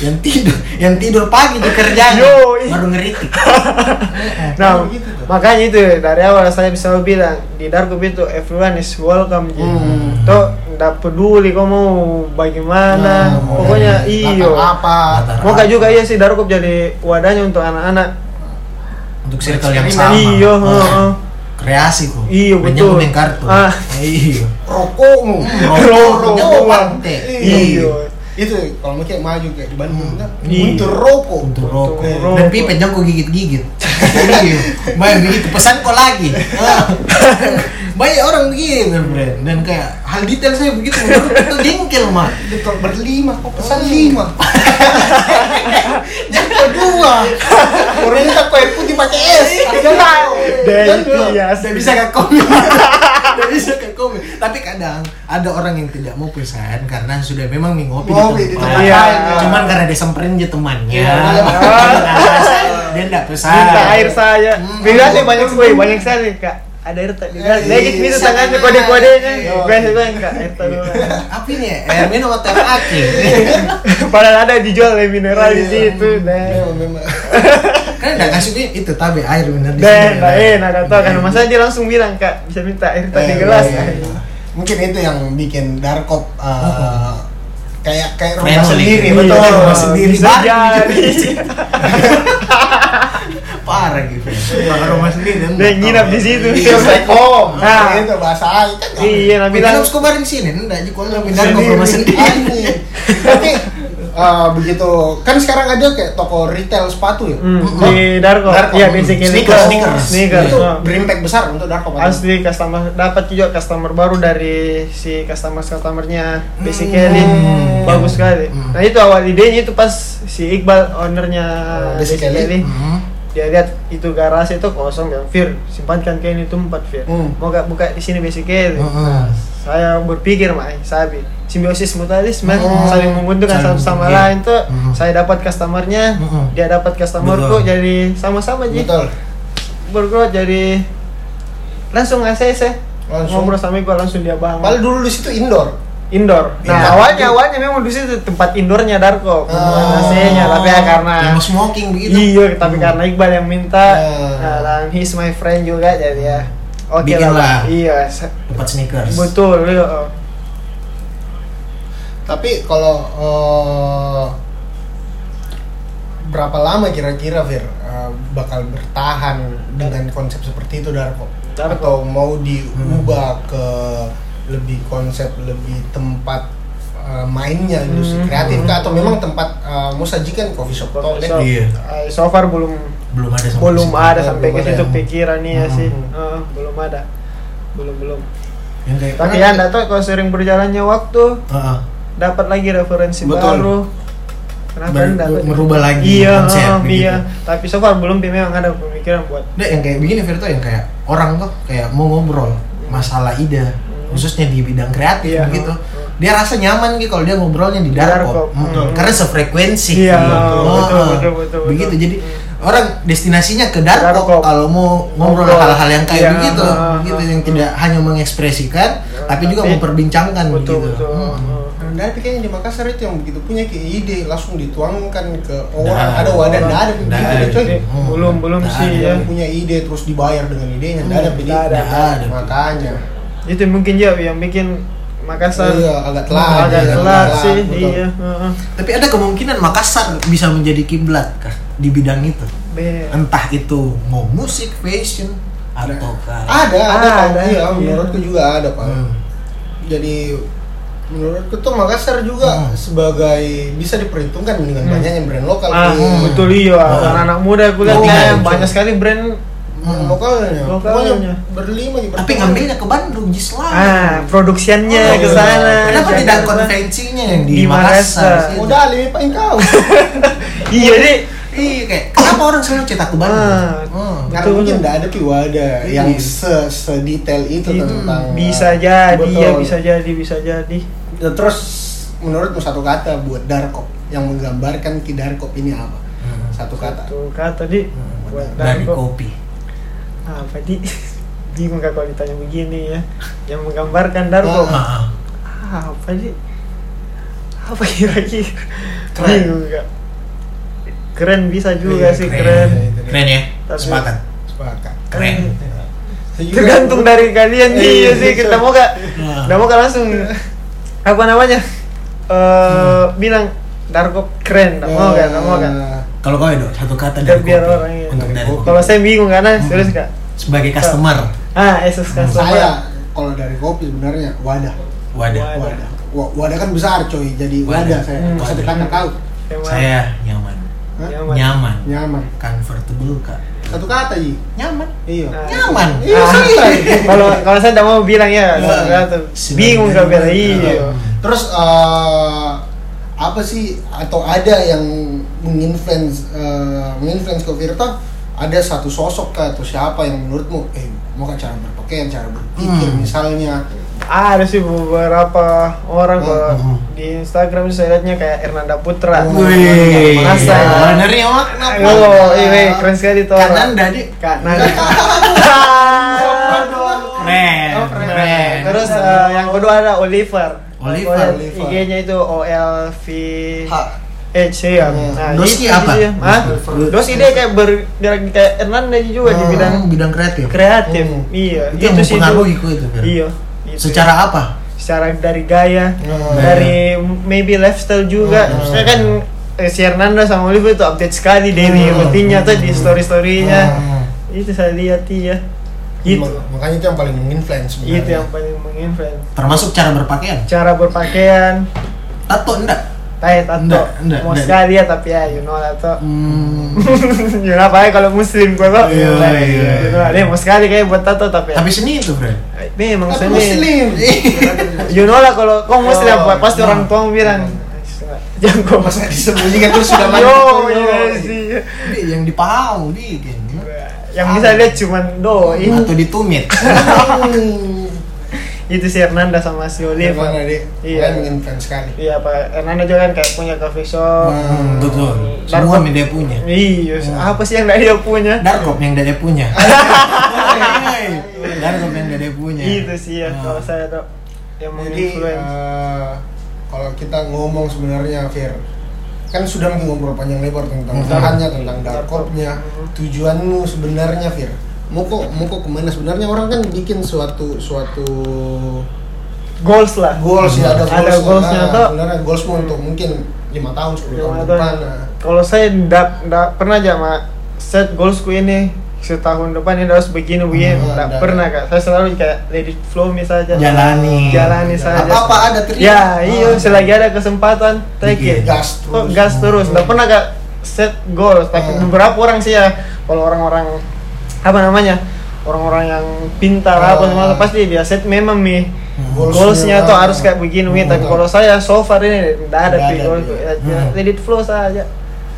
A: yang tidur yang tidur pagi di kerjaan
C: Yoi.
A: baru ngeritik
C: Nah,
B: Gitu tuh.
C: makanya itu dari awal saya bisa bilang di Darko itu everyone is welcome. Ji.
B: Hmm.
C: Tuh nggak peduli kau mau bagaimana,
B: Nah, mau
C: pokoknya
B: dari
C: iyo.
B: latar apa
A: Latar
C: Mau nggak juga ya sih Darko jadiwadahnya untuk anak-anak.
A: untuk circle yang sama
B: Eksperimen.
A: Hmm.
C: Iyo, oh, heeh.
A: kreasi kok
C: Iya,
A: Banyak
C: betul.
A: main kartu
C: Ah.
A: iya
B: rokokmu
A: rokok, rokok.
B: iya itu kalau mau kayak maju kayak di
C: Hmm.
B: Bandung kan
C: Iya.
B: untuk rokok
A: untuk rokok
C: rokok.
A: dan pipen jangan kok gigit-gigit iya main begitu pesan kok lagi Ah. banyak orang begini Bren. dan kayak hal detail saya begitu menurut itu jengkel mah
B: Betul berlima, kok
C: Oh.
B: pesan lima. Yang kedua, orang minta kue putih pakai es.
C: Iya.
B: Iya.
C: Dan
A: Iya,
C: iya,
A: saya bisa gak komen. Saya bisa gak komen. Tapi kadang ada orang yang tidak mau pisahan karena sudah memang nih ngopi
B: Ngopi
A: di
B: di
A: tempat.
B: tempat
C: Iya.
B: lain. ya.
A: Cuman karena dia semperin dia temannya.
B: Iya.
A: dia enggak pisahan.
C: Ah. minta air saya.
A: Hmm.
C: Bilang sih banyak sekali, banyak sekali kak. Ada air tak? Bilang,
B: Iya,
C: legit
B: iya,
C: itu
B: iya.
C: tangannya kode-kodenya.
B: Iya.
C: Biasa bilang kak, air tak dulu.
A: Apa ini ya? Air minum atau air aki?
C: Padahal ada dijual air mineral di
B: Iya.
C: situ. Nah.
B: Memang, memang.
A: Kan enggak kasih dia itu tapi air bener di
C: Dan,
A: sini, Iya.
C: nah,
A: Bren.
C: eh, nah, gak tau kan, masa dia langsung bilang kak bisa minta air tak di
B: Eh,
C: gelas.
B: iya, iya. Mungkin itu yang bikin Darkop eh, kayak kayak rumah
A: Friendly.
B: sendiri,
A: Iya,
B: betul.
A: rumah sendiri.
C: Bisa
A: Baru
C: jadi.
A: dijadiin. Parah gitu. Bakar rumah sendiri.
C: Dia nginap di situ. Iya,
B: Itu sekom.
C: Nah.
B: Itu bahasa Aing kan.
C: Iya, nah
A: Bilang
C: bilang.
A: harus kemarin sini, enggak jadi kalau pindah ke rumah Kan sendiri.
B: Anjing. Tapi eh, begitu kan sekarang ada kayak toko retail sepatu ya.
C: Hmm,
A: Mm-mm.
C: di Darko,
B: Darko.
C: iya basic
A: Sneakers, sneakers.
C: sneakers.
B: itu
C: oh.
B: berimpact besar untuk Darko kan?
C: Asli customer dapat juga customer baru dari si customer customernya basic Kelly
A: Hmm.
C: bagus sekali.
A: Hmm.
C: Nah itu awal idenya itu pas si Iqbal ownernya
B: Oh, Basic
C: basic
B: Kelly.
C: Kelly
A: Hmm.
C: dia lihat itu garasi itu kosong ya Fir simpankan kain itu empat Fir
B: Hmm.
C: mau gak buka di sini basic Kelly.
A: Heeh.
C: Saya berpikir mai sabi simbiosis mutualisme
A: Hmm.
C: saling menguntungkan
A: Saling
C: satu sama
A: menguntungkan.
C: lain tuh
A: Hmm.
C: saya dapat customernya
A: Hmm.
C: dia dapat customerku
A: Betul.
C: jadi sama-sama jadi
B: Betul.
C: bergrowth jadi langsung ACC
B: Langsung.
C: ngobrol sama gue langsung dia bangun
B: Padahal dulu di situ indoor.
C: indoor nah
B: Indoor.
C: awalnya awalnya memang di situ tempat indoornya Darko bukan AC-nya tapi ya karena
A: Ya, mau smoking begitu.
C: iya tapi karena Iqbal yang minta
B: Ya.
C: nah, dan he's my friend juga jadi ya oke
A: Ah. Bikin lah.
C: Pak. iya se-
A: Dapat sneakers.
C: betul iya.
B: Tapi kalau eh, berapa lama kira-kira Fir eh, bakal bertahan dengan konsep seperti itu Darko?
C: Darko.
B: Atau
C: Hmm.
B: mau diubah ke lebih konsep lebih tempat eh, eh, mainnya industri
C: Hmm.
B: kreatif kah? atau memang tempat eh, musajikan coffee shop kan? tol
C: Coffee
B: deh?
C: shop.
A: Iya.
C: Eh, so far belum
A: belum ada sampai ke
C: belum
A: situ.
C: ada
B: Belum
C: sampai ke
B: ada
C: situ
B: yang-
C: pikiran iya
A: Hmm.
C: sih Eh, belum ada belum belum
A: Yang kayak kan, uh,
C: tapi Nah,
B: Karena-
C: ya enggak tahu kalau sering berjalannya waktu
A: Heeh.
C: dapat lagi referensi
A: Betul.
C: baru kenapa
A: Baru-
C: enggak tuh?
A: merubah lagi
C: kan iya
A: konsep,
C: eh,
A: begitu.
C: iya tapi so far belum sih memang ada pemikiran buat
A: Nggak, yang kayak begini Virto yang kayak orang tuh kayak mau ngobrol masalah ide khususnya di bidang kreatif
C: Iya.
A: gitu.
C: Hmm.
A: Dia rasa nyaman gitu kalau dia ngobrolnya di dark
C: Dark
A: pop.
C: pop.
A: Mm,
C: Betul.
A: Karena sefrekuensi.
C: Iya,
A: gitu.
C: betul,
A: Oh,
C: betul,
A: eh,
C: betul, betul,
A: Begitu
C: betul.
A: jadi orang destinasinya ke dark,
C: Dark
A: pop
C: pop.
A: kalau mau ngobrol
C: Ngobrol.
A: hal-hal yang kayak
C: Iya,
A: begitu,
C: ah, ah,
A: gitu
C: ah.
A: yang tidak hanya mengekspresikan tapi juga
C: tapi-
A: memperbincangkan
C: betul
A: gitu.
C: betul
A: Mm.
C: eh.
B: Nah, tapi kayaknya di Makassar itu yang begitu punya ke ide langsung dituangkan ke orang.
A: Nah,
B: ada wadah,
C: orang.
B: nggak ada
A: Nggak
B: begitu deh, coy.
A: ada. Hmm.
C: belum belum
A: Nah,
C: sih ya
B: Yang punya ide terus dibayar dengan idenya, nggak ada begitu.
C: Hmm, nggak ada.
A: Nggak ada.
B: Makanya.
C: itu mungkin ya yang bikin Makassar
B: Iya, agak telat.
C: agak
A: iya,
C: telat
B: telat,
C: sih
B: betul.
C: iya heeh.
A: Tapi ada kemungkinan Makassar bisa menjadi kiblat kah di bidang itu?
C: Be-
A: Entah itu mau musik, fashion
C: Nah.
A: atau
B: Ada, ada,
C: Ah,
B: Pak.
C: ada.
B: Iya,
C: Iya.
B: menurutku juga ada, Pak.
A: Hmm.
B: Jadi menurutku tuh Makassar juga
A: Hmm.
B: sebagai bisa diperhitungkan dengan
C: Hmm.
B: banyaknya brand lokal.
C: ah
B: Iya.
A: Hmm.
C: betul iya
A: Hmm.
C: anak anak muda aku lihat
A: Oh,
C: kan. kayak
A: iya,
C: banyak
A: betul.
C: sekali brand
B: Brand
A: Hmm.
B: lokalnya.
C: Lokalnya.
B: Pokoknya berlima ya,
A: Tapi
B: berteman.
A: ngambilnya ke Bandung, Jislang.
C: ah produksiannya
B: Oh,
C: ke
B: iya.
C: sana
A: Kenapa
C: Jakarta.
A: tidak konvensinya yang di,
C: Di Makassar.
A: Makassar?
B: modal lipain kau.
C: iya deh
A: Iya, kayak kenapa orang selalu cetak ke Bandung?
C: Ah.
A: Hmm.
B: Karena
C: Betul,
B: mungkin
C: betul.
B: tidak ada piwada
A: Iya.
B: yang se sedetail itu
C: Itu
B: tentang eh,
C: bisa jadi
B: Betul.
C: ya bisa jadi bisa jadi
B: Dan terus menurutmu satu kata buat Darkop yang menggambarkan ki Darkop ini apa?
A: Hmm.
B: Satu kata.
C: tuh kata di buat
A: Dari
C: Darko. Ah,
A: kopi.
C: apa di bingung kak kalau ditanya begini ya yang menggambarkan
B: Ah.
C: Darko
A: Ah, ah.
C: Ah, apa sih apa kira-kira
B: Keren.
C: Bingung, Kak. keren bisa juga
B: Iya,
C: sih
B: keren.
C: keren
A: Keren ya?
C: Tapi-
A: Sepakat.
B: Sepakat.
A: Keren.
B: Saya juga-
C: tergantung dari kalian
B: Iya,
C: sih
B: iya,
C: sih
B: betul.
C: kita mau gak
A: Nah.
C: kita mau gak langsung apa namanya Eh, bilang Darko keren nggak mau gak nggak mau kan? gak
B: Nah,
A: Kalau kau itu satu kata
C: Biar
A: dari
C: biar
A: kopi.
C: orang, iya.
A: Untuk dari kopi.
C: kalau saya bingung karena
A: Hmm.
C: serius kak
A: sebagai customer,
C: ah Asus
A: Hmm.
C: customer
B: Saya kalau dari kopi sebenarnya wadah.
A: wadah.
C: Wadah.
B: Wadah. Wa- Wadah kan besar coy, jadi
A: Wadah.
B: wadah saya.
C: Hmm.
B: Satu kata kau.
C: Emang
A: Saya nyaman.
B: Hah?
C: nyaman.
A: Nyaman.
B: Nyaman.
A: Comfortable kak.
B: Satu kata Ji.
A: Nyaman.
B: Iya.
C: Nah.
A: Nyaman.
B: Iya,
C: Ah.
B: santai.
C: kalau kalau saya tidak mau bilang ya
A: Nah.
C: nggak tuh.
A: Sinetron.
C: bingung kak bilang
B: Iya.
C: iya
B: Terus eh, apa sih atau ada yang menginfluence eh, menginfluence ke Virta? Ada satu sosok kah atau siapa yang menurutmu eh mau kan cara berpakaian, cara berpikir
A: Hmm.
B: misalnya.
C: ada sih beberapa orang kalau
A: Mhm.
C: di Instagram sih saya liatnya kayak Ernanda Putra
B: Oh,
A: Wih,
C: Masa.
A: warnernya mak, kenapa?
C: oh iya weh, keren sekali tuh
A: Kanan
C: orang.
A: dari
C: kanan
A: keren,
B: Oh, keren.
A: keren.
C: Oh, terus eh, yang kedua ada Oliver
A: Oliver.
C: Yang
B: Oliver.
C: IG-nya itu OLV
B: Ha.
C: H ya
B: Hmm.
A: Iya. Doski
C: itu
A: apa?
C: dia. Hah?
A: Doski.
C: Doski dia kayak ber dia kayak Ernanda juga di
A: Hmm,
C: bidang
A: bidang kreatif.
C: kreatif
B: Hmm.
C: iya
A: Oh. Itu yang
C: sih
A: mempengaruhi ku itu. Fer.
C: iya itu.
A: Secara Iya. apa?
C: secara dari gaya
B: Hmm.
C: dari maybe lifestyle juga
A: Ah.
B: Hmm.
C: saya kan eh, si Hernando sama Oliver itu update sekali daily
A: Hmm.
C: rutinnya tuh di story
B: nah.
C: storynya
A: Hmm.
C: itu saya lihat iya itu Iya,
B: Mak- Makanya itu yang paling menginfluence.
C: itu
B: sebenarnya.
C: yang paling menginfluence
A: Termasuk cara berpakaian.
C: cara berpakaian
A: Tato enggak?
C: tay tato
A: Nggak, nggak,
C: mau
A: nggak.
C: sekali ya tapi ya you know lah tuh
A: Hmm.
C: you know apa ya kalau muslim gue kok
A: Iya, iya,
C: gitu. you know lah, dia mau sekali kayak buat tato tapi ya
A: Tapi seni itu, Iya. Fred.
C: memang
B: Tapi
C: seni.
B: muslim.
C: you know lah kalau kau muslim
B: Yo.
C: pasti orang tua mau bilang jangan kau
B: Masa disembunyikan terus sudah mati.
C: yo
B: Yo.
C: iya sih
A: Dia yang di pahau, dia kayaknya.
C: yang bisa lihat cuman doi
A: Atau di tumit.
C: itu si Hernanda sama si
B: Gimana,
C: Oliver
B: Dek?
C: Iya.
B: Makanya menginfluence sekali.
C: iya pak Hernanda juga kan kayak punya coffee shop
A: Hmm, betul.
C: Dark
A: Semua
C: web.
A: yang dia punya. Nah,
C: iya apa sih yang nggak dia punya
A: Darkop yang dia punya. Iya. Darkop yang dia punya.
C: itu sih ya
A: Hmm.
C: kalau saya tuh yang
B: Jadi
C: menginfluence
B: eh, kalau kita ngomong sebenarnya Fir kan sudah ngobrol panjang lebar tentang
C: Iya.
A: Mhm.
B: usahanya, tentang darkopnya,
C: Mhm.
B: tujuanmu sebenarnya Fir. Mau kok, mau kok kemana sebenarnya orang kan bikin suatu suatu
C: goals lah
B: goals ya ada
C: Iya. Ada
B: goals
C: goalsnya, toh. Iya,
B: sebenarnya goalsmu untuk mungkin lima tahun 10 tahun ke
C: Ramadan.
B: depan nah.
C: kalau saya ndak ndak pernah aja mak set goalsku ini setahun depan ini harus begini begini
B: Hmm,
C: nggak
B: ada.
C: pernah kak saya selalu kayak lady flow misalnya
A: Jalani.
C: jalani saja
B: apa apa ada terima
C: ya iya selagi ada kesempatan take
A: Bikin.
C: it
B: gas
C: Oh,
B: terus
C: gas terus nggak pernah gak set goal tapi
B: Hmm.
C: beberapa orang sih ya kalau orang-orang apa namanya orang-orang yang pintar apa
B: Hmm.
C: semua pasti dia set memang nih
A: Hmm.
B: Goals-nya,
C: goalsnya tuh
B: ah.
C: harus kayak begini nih tapi
B: Hmm.
C: kalau saya so far ini nggak
B: Nggak
C: ada pi
B: ada,
C: goal
B: iya.
C: ya, ya,
A: Hmm.
C: let it flow saja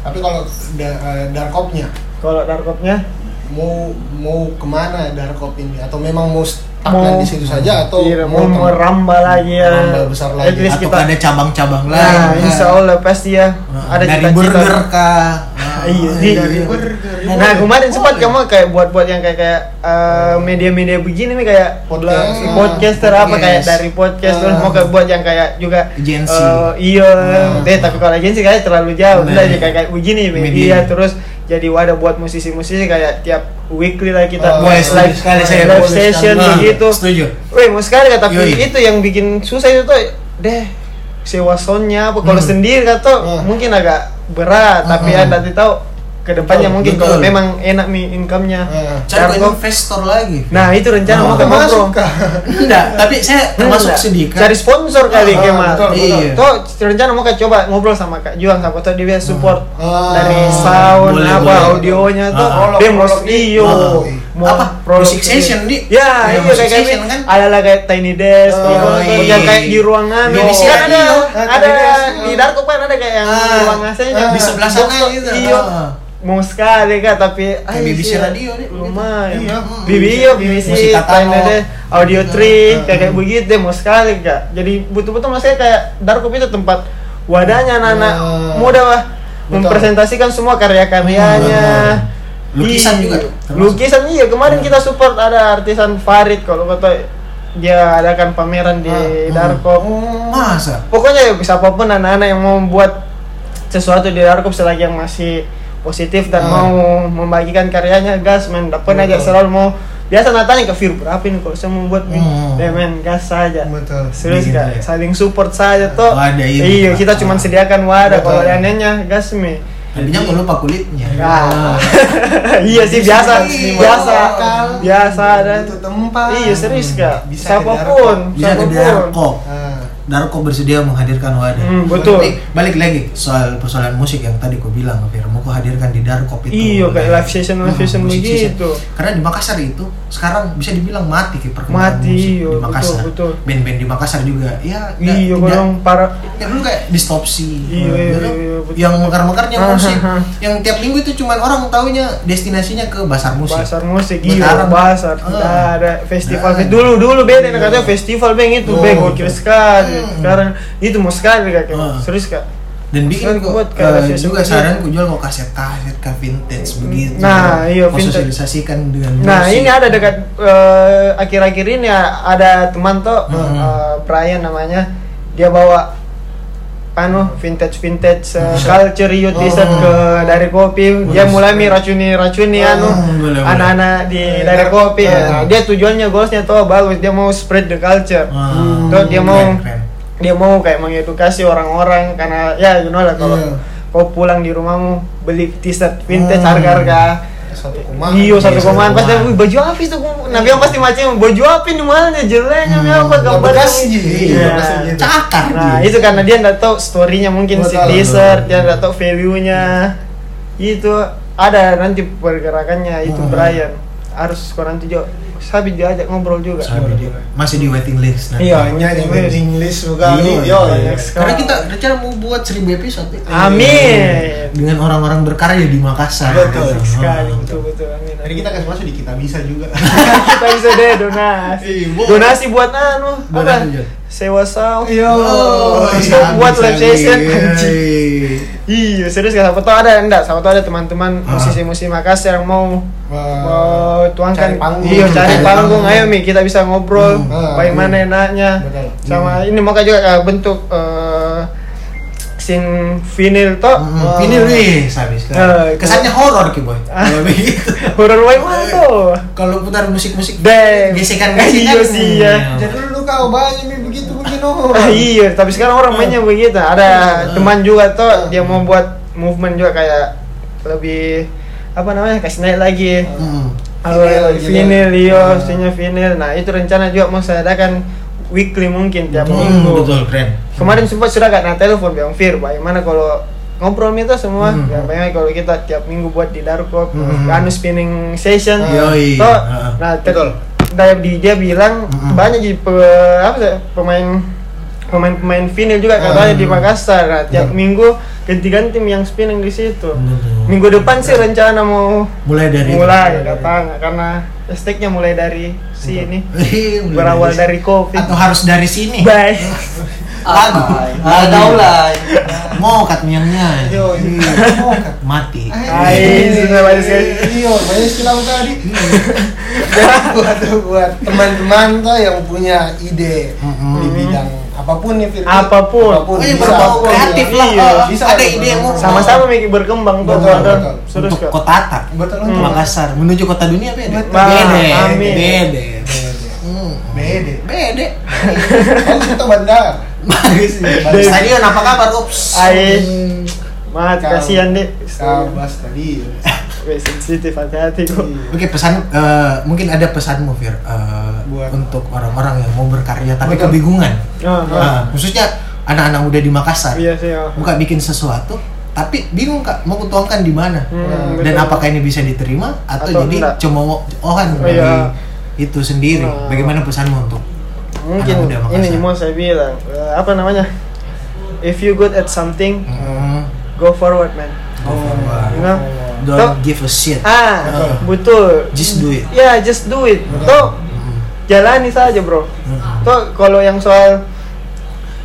B: tapi kalau da- eh, darkopnya
C: kalau narkopnya
B: mau mau kemana darkop ini atau memang mau
C: Mau-
B: stagnan di situ saja atau
C: tidak mau
B: tem-
C: merambah lagi ya
B: Oh, iya, Merambah besar lagi.
C: At least
A: atau
C: kita
A: ada cabang-cabang lain
C: nah
A: Nah,
C: insya Allah pasti ya
B: Hmm.
C: ada
A: dari
C: cita-cita
A: burger kah gitu. Nah,
C: Iya,
A: dari iya.
C: dari
B: burger.
C: Nah kemarin sempat
A: Boleh.
C: kamu kayak buat-buat yang kayak kayak eh, media-media begini nih kayak
B: Podcast.
C: lah, podcaster apa
A: ah, Podcast.
C: kayak dari podcast terus
B: Ah.
C: mau kayak buat yang kayak juga
A: Agensi.
C: eh, iya,
B: Ah.
C: deh tapi kalau agensi kayak terlalu jauh.
A: Nah.
C: Udah aja kayak kayak begini media
A: Media.
C: terus jadi wadah buat musisi-musisi kayak tiap weekly lah kita
B: Ah,
A: Wah,
C: live,
A: setuju Oh, iya, sekali saya kan. Nah,
C: live
A: Boleh
C: session iya, gitu.
A: sekali.
C: begitu.
A: setuju
C: Weh, mau sekali kata tapi
A: Yoi.
C: itu yang bikin susah itu tuh deh sewa soundnya apa kalau
A: Hmm.
C: sendiri kata
B: Hmm.
C: mungkin agak berat tapi
A: Hmm.
C: ada nanti tahu kedepannya
B: Betul,
C: mungkin
A: betul.
C: kalau memang enak nih income-nya.
B: Eh,
A: cari
C: Darko.
A: investor lagi
C: Nah, itu rencana
A: Oh,
C: mau ke
B: Atau
C: Bro.
B: masuk kah?
A: enggak tapi saya termasuk
C: Enggak.
A: sedih Kak.
C: Cari sponsor kali
B: Ah,
C: Kemal.
B: betul,
A: betul.
C: Iya. Tuh rencana mau kayak coba ngobrol sama Kak Juang sama tuh dia support
B: Ah.
C: dari sound
A: Boleh,
C: apa
A: boleh.
C: audionya tuh
A: Ah.
C: dia
B: Prolog,
C: mau
B: prolog di-
C: iyo
A: Ah.
C: mau
A: Apa?
C: prolog
A: Music
C: di-
A: session, Di?
C: ya
A: Iya,
C: iya
A: music
C: kayak kayak
A: session, kan?
C: ada lah kayak tiny desk
B: Oh,
C: gitu, tuh,
A: iya.
C: yang kayak di ruangan
A: Di
C: Kan
A: sini
C: ada
A: iyo.
B: Ah,
C: ada
B: tiny desk,
C: di
B: ah.
C: dark kan ada kayak yang di
A: Ah.
C: ruang AC-nya iya.
B: Ah,
A: di sebelah sana gitu
C: iyo
A: Ah.
C: mau sekali kak tapi ah,
A: BBC
C: iya,
A: radio, Dek, begitu.
C: lumayan
B: Iya,
A: mm,
C: BB
A: BBC,
C: iya BBC
A: musik
C: lain
A: katano.
C: ada audio
B: Iya,
C: trick
B: mm.
C: kayak kayak begitu deh, mau sekali kak jadi betul-betul maksudnya kayak Darko itu tempat wadahnya anak-anak
B: Iya.
C: muda wah
B: Betul.
C: mempresentasikan semua karya-karyanya
A: Benar. Lukisan
C: Iya.
A: juga, termasuk.
C: lukisan iya kemarin kita support ada artisan Farid kalau kata dia adakan pameran di
B: Ah,
C: Darko
A: masa
C: pokoknya ya, siapapun anak-anak yang mau membuat sesuatu di Darkup selagi yang masih positif dan
B: Ah.
C: mau membagikan karyanya gas men dapat aja
B: Betul.
C: selalu mau biasa natanya ke Fir berapa ini kalau saya mau buat ini
A: Hmm.
C: Ya, men gas saja
B: Betul.
C: serius
A: Begitu
C: Kak.
A: ya.
C: saling support saja tuh
A: Wadah ini. Ah.
C: iya kita cuma sediakan wadah
B: Betul.
C: kalau lainnya gas me
A: tadinya mau lupa kulitnya
C: Ah. iya sih biasa
A: Iya,
C: biasa
B: lokal.
C: biasa dan
B: Butuh tempat.
C: iya serius kak
B: Bisa ke
C: siapapun
A: bisa ke
C: siapapun
A: Darko
B: Ah,
A: Darko bersedia menghadirkan wadah
C: Hmm, betul
A: Nih, balik lagi soal persoalan musik yang tadi ku bilang ke Fir, mau ku hadirkan di Darko itu.
C: Iya, kayak live session, live
A: Hmm,
C: session gitu.
A: musik
C: begitu.
A: session. Karena di Makassar itu sekarang bisa dibilang mati ke perkembangan
C: Mati,
A: musik
C: iya,
A: di Makassar.
C: betul, betul.
A: Band-band di Makassar juga ya nggak-
C: iya
A: tidak-
C: kurang para
A: Ya dulu kayak distopsi
C: Iya,
A: ya
C: iya,
A: kan?
C: iya, betul.
A: yang mekar-mekarnya
C: Ah,
A: musik
C: ah, ah.
A: yang tiap minggu itu cuman orang taunya destinasinya ke pasar musik
C: Pasar musik, iya
A: Sekarang-
C: pasar.
A: Ah.
C: Tidak ada festival.
A: Nah.
C: Dulu dulu beda nih, katanya festival bang itu
A: Oh,
C: bang gokil
A: betul.
C: sekali.
A: Hmm.
C: Sekarang itu mau sekali kak, Kayak,
A: Ah.
C: serius kak.
A: dan bikin
C: Sekarang
A: kok
C: Kan buat
A: eh,
C: kayak
A: juga
C: sosialisasi.
A: saran ku jual kok kaset-kaset ke vintage begitu
C: Nah, iya,
A: Kau
C: vintage.
A: sosialisasikan dengan
C: Nah
A: musik.
C: ini ada dekat eh, akhir-akhir ini a- ada teman tuh
A: Hmm.
C: eh, Brian namanya, dia bawa anu vintage vintage eh, culture youth
A: Oh.
C: t-shirt ke dari kopi
A: Boleh.
C: dia mulai mi racuni racuni
A: Oh,
C: anu
A: boleh, boleh.
C: anak-anak di
B: Eh,
C: dari kopi
A: eh.
C: dia tujuannya goalsnya tuh bagus dia mau spread the culture
A: Ah,
C: Tuh, dia mau-
A: keren, keren.
C: dia mau kayak mengedukasi orang-orang karena ya you know lah kalau
B: Iya.
C: kau pulang di rumahmu beli t-shirt vintage
A: Hmm.
C: harga-harga
B: satu koma.
C: iyo
A: Iya,
C: satu
A: satu
C: komaan pasti
A: komaan.
C: "Wih, baju apa itu nabi yang pasti macam baju apa ini malnya jeleknya
A: Hmm.
C: apa gambar
B: Bekas
A: Iya. cakar
C: nah
A: dia.
C: itu karena dia nggak tahu storynya mungkin si
B: Betul.
C: t-shirt dia nggak tahu value nya itu ada nanti pergerakannya itu
A: Hmm.
C: Brian harus kau nanti juga sabi diajak ngobrol juga
A: Sampai di- masih di waiting list nanti.
C: Iya,
B: Hanya di
C: English.
B: English juga
A: Iya,
B: nih. Yo,
A: iya.
C: Next
A: Karena
C: call.
A: kita rencana mau buat 1000 episode. ya.
C: amin
A: Dengan orang-orang berkarya di Makassar.
B: Betul
A: Ah.
C: sekali Iya. betul betul amin
B: Tadi kita kasih masuk di kita bisa juga.
C: kita bisa deh donasi
A: Iya, boleh.
C: donasi buat anu apa
A: Donasi aja.
C: sewa sound
A: Oh,
C: Kita
A: iya,
C: buat
A: bisa
C: live session
A: nih.
C: anjing. iya serius gak siapa tau ada enggak siapa tau ada teman-teman
A: Ah.
C: musisi-musisi Makassar yang mau mau
B: cari
C: tuangkan
B: panggung.
C: iya cari
A: Cari
C: panggung
A: panggung.
C: ayo mi kita bisa ngobrol
A: Ah,
B: Hmm.
C: bagaimana
B: Iya.
C: enaknya
B: Betul.
C: sama ini mau juga eh, bentuk eh, scene vinyl toh Ah.
A: Hmm,
B: Oh.
A: Ini nih, habis
C: Eh, itu-
A: Kesannya horor ki boy.
C: Ah.
A: Kalau begitu.
C: horror
A: Eh.
C: bagaimana tuh
A: Kalau putar musik-musik
C: Damn.
A: gesekan-gesekan. gitu.
C: Iya sih, ya.
B: Jadi dulu kau banyak nih begitu begini.
C: Ah, iya, Ah. tapi sekarang orang mainnya begitu. Ada teman juga tuh
B: Ah.
C: dia mau buat movement juga kayak lebih apa namanya kasih naik lagi
A: Hmm.
B: Vinyl,
C: Awal vinyl,
B: gitu.
C: Ah, iya,
B: Hmm.
C: pastinya vinyl. Nah, itu rencana juga mau saya adakan weekly mungkin
A: Mm,
C: tiap minggu.
D: betul keren
C: Kemarin sempat sudah kena telepon Bang Fir, bagaimana kalau ngobrol itu semua,
A: Hmm.
C: ya, bagaimana kalau kita tiap minggu buat di Darkop,
A: Hmm.
C: anu spinning session.
D: Yoi.
C: Toh,
D: Ah.
C: nah, ter-
B: Betul.
C: dari di- dia bilang
A: Hmm.
C: banyak di pe- apa sih, pemain pemain-pemain vinyl juga
D: Ah.
C: katanya di Makassar. Nah, tiap minggu ganti-ganti yang spinning di situ.
D: Betul, Hmm. betul.
C: Minggu depan sih rencana mau
D: mulai dari
C: mulai datang karena esteknya mulai dari sini
D: Mulai
C: berawal dari kopi
D: atau harus dari sini
C: bye
D: lagu
C: iya.
E: Ah, tahu lah.
D: mau kat miangnya
B: Yo, ini.
C: Hmm.
D: mati
C: Hai, sudah banyak sekali.
B: Iya, banyak sekali tadi.
C: Hmm.
B: buat buat teman-teman tuh yang punya ide di bidang apapun nih, Fir.
C: Hmm. Apapun. Oh,
D: Pokoknya
B: bisa.
D: berbau
B: Iya,
D: kreatif lah.
B: iya,
A: Oh,
D: Ah,
B: bisa
D: ada
B: berbau-
D: ide yang mau-
C: sama-sama mikir berkembang tuh
B: Betul,
C: betul.
B: betul.
C: Serius,
D: untuk
C: Kak.
D: kota tak
B: Betul
C: Hmm.
B: betul.
D: Makassar menuju kota dunia beda
B: Betul.
D: bede
C: Amin.
D: bede Hmm.
B: Bede.
D: bede
B: Kalau kita bandar.
D: bagus
B: Bede.
D: nih stadion apa kabar ups
C: Ai, mat
B: Kau-
C: kasihan deh.
B: Kabas tadi.
C: Weh, sensitif hati-hati kok.
A: Oke pesan eh, mungkin ada pesanmu Fir eh,
B: Buat-
A: untuk orang-orang yang mau berkarya tapi
B: Betul.
A: kebingungan.
C: Ah, ah.
A: Nah, khususnya anak-anak muda di Makassar.
C: Iya sih. ah.
A: Buka bikin sesuatu tapi bingung Kak mau kutuangkan di mana.
C: Hmm,
A: Dan
C: betul.
A: apakah ini bisa diterima atau,
C: Atau
A: jadi
C: enggak.
A: cuma ohan
C: Oh,
A: dari
C: iya.
A: itu sendiri.
C: Nah.
A: Bagaimana pesanmu untuk
C: Mungkin
A: anak muda Makassar?
C: ini mau saya bilang eh, apa namanya? If you good at something,
A: Hmm,
C: go forward man.
A: go forward.
C: You know?
A: Don't give a shit.
C: Ah, betul.
A: Just do it.
C: Ya, just do it. Toh jalani saja, Bro. Toh kalau yang soal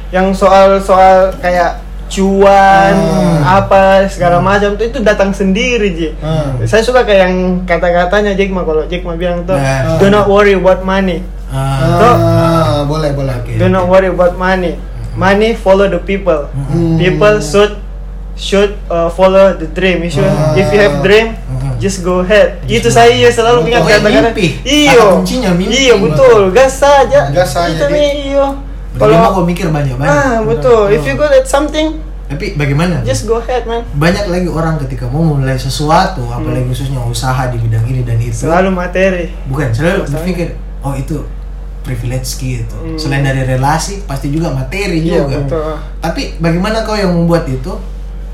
C: yang soal-soal kayak cuan apa segala macam tuh itu datang sendiri, Ji.
B: Hmm.
C: Saya suka kayak yang kata-katanya Jack Ma kalau Jack Ma bilang tuh
A: Nah.
C: do not worry about money.
A: Ah,
C: Tuh.
B: Ah, boleh boleh.
A: Oke.
C: Do not worry about money. Money follow the people.
B: Hmm.
C: People should should uh, follow the dream. You should,
B: Ah.
C: if you have dream,
A: Mhm.
C: just go ahead. Itu saya iya, selalu ingat
A: Pokoknya
C: kata-kata.
A: mimpi.
C: Iyo.
A: Kata kuncinya mimpi.
C: Iyo betul. Gas saja.
B: Gas saja,
C: Itu
B: Dik.
C: nih iyo.
A: Bagaimana kok
C: Kalau
A: mikir banyak-banyak?
C: ah betul. If you good at something,
A: Tapi bagaimana?
C: just go ahead man.
A: banyak lagi orang ketika mau memulai sesuatu, apalagi khususnya usaha di bidang ini dan itu,
C: Hmm. Selalu materi.
A: bukan selalu
C: Masalahnya.
A: berpikir, oh itu privilege gitu.
C: Hmm.
A: Selain dari relasi, pasti juga materi
C: Iya
A: juga.
C: betul.
A: Tapi bagaimana kau yang membuat itu?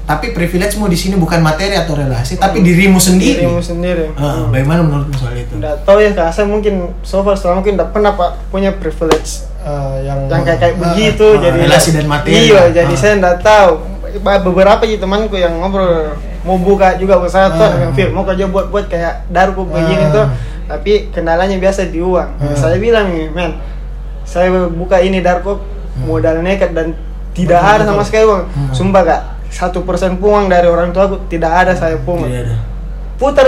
A: Tapi privilegemu di sini bukan materi atau relasi, tapi dirimu sendiri.
C: Dirimu sendiri.
A: Ah,
C: Hmm.
A: bagaimana menurutmu soal itu?
C: Nggak tahu ya kak, saya mungkin so far selama mungkin udah pernah pak punya privilege
B: Ah, yang
C: yang kayak kayak
B: Ah,
C: begitu
A: ah,
C: jadi
A: relasi dan materi.
C: iya jadi
A: Ah.
C: saya nggak tahu Ba- beberapa aja temanku yang ngobrol mau buka juga usaha tuh
B: Ah.
C: yang film mau kerja buat buat kayak darku begini
B: Ah.
C: tuh tapi kendalanya biasa di uang
B: Ah.
C: saya bilang nih men saya buka ini darko modal nekat dan tidak ada sama
B: Ah.
C: sekali uang sumpah kak satu persen uang dari orang tua aku tidak ada saya pungut
A: Tidak ada.
C: putar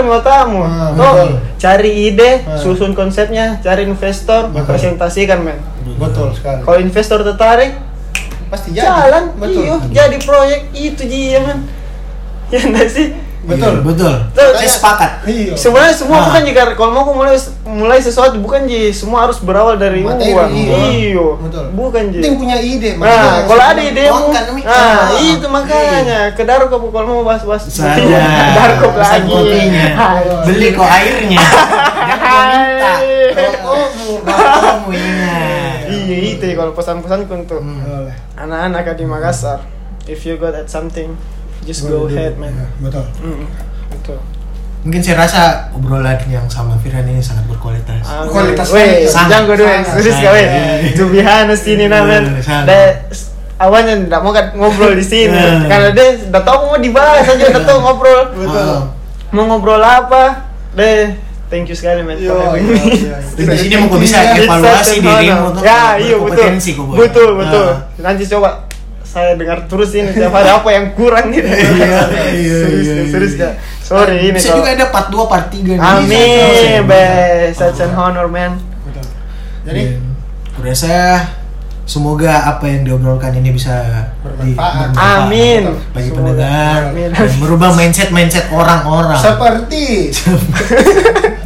B: Iya.
C: motamu
B: Ah, betul.
C: tuh cari ide
B: Ah.
C: susun konsepnya cari investor presentasikan men
B: betul sekali.
C: kalau investor tertarik
B: Pasti jadi.
C: jalan iya.
B: betul.
C: iyo, jadi proyek itu ji ya kan ya enggak sih
B: Betul.
A: Iya, betul.
C: Tuh,
A: Saya
C: kayak-
A: sepakat.
B: Iya.
C: sebenarnya semua
A: Ah.
C: bukan jika kalau mau aku mulai mulai sesuatu bukan ji semua harus berawal dari
B: Materi,
C: uang
B: iya.
C: iyo
B: Betul.
C: bukan ji
B: Penting punya ide.
C: nah kalau ada ide
B: Oh,
A: uang
C: mu
A: kan, Mi.
C: nah
A: Ah.
B: Iya.
C: itu makanya ke Darko Bu, kalau mau bahas-bahas
A: Salah.
C: Darko
A: Pesan
C: lagi
A: kopinya. Beli kok airnya. Yang kau minta.
C: Hai.
B: oh,
A: Rokokmu,
C: Nah,
A: rokokmu ingat.
C: iya itu ya kalau pesan-pesanku untuk
A: Hmm.
B: Boleh.
C: anak-anak di Makassar if you got at something just go
B: Boleh,
C: ahead
B: boleh.
C: man
B: Ya, Betul.
C: Mm, betul.
A: Mungkin saya rasa obrolan yang sama Firhan ini sangat berkualitas.
C: Ah,
B: Kualitas
C: weh,
B: kan
A: sangat,
C: jangan gue doang,
B: sangat,
C: serius gak weh. To be honest ini nah, men.
A: Sangat.
C: Deh, s- awalnya nggak mau kan ngobrol di sini,
A: Hmm.
C: karena deh udah tau mau dibahas aja, udah
A: Nah.
C: tau ngobrol,
A: Ah.
C: mau ngobrol apa, deh. Thank you sekali men. for having me.
B: Iya.
A: Dan di sini mau kok bisa
C: It's
A: evaluasi
C: such an
A: dirimu
C: honor.
A: tuh
C: Ya, iya betul.
A: berkompetensi kok, Boy.
C: Betul, betul.
A: Ah.
C: Nanti coba saya dengar terus ini tiap hari apa yang kurang nih.
A: Iya, iya,
C: Serius,
A: iya,
C: serius
A: iya.
C: ya. Sorry ini
A: Bisa
C: kalau-
A: juga ada part 2, part 3
C: Amin, be, such an honor man.
B: Betul. Jadi
C: Iya.
A: Udah saya semoga apa yang diobrolkan ini bisa di-
B: Bermanfaat.
C: Amin.
A: bagi
B: Semoga.
A: pendengar
C: Amin. Nah.
A: dan merubah mindset-mindset orang-orang.
B: seperti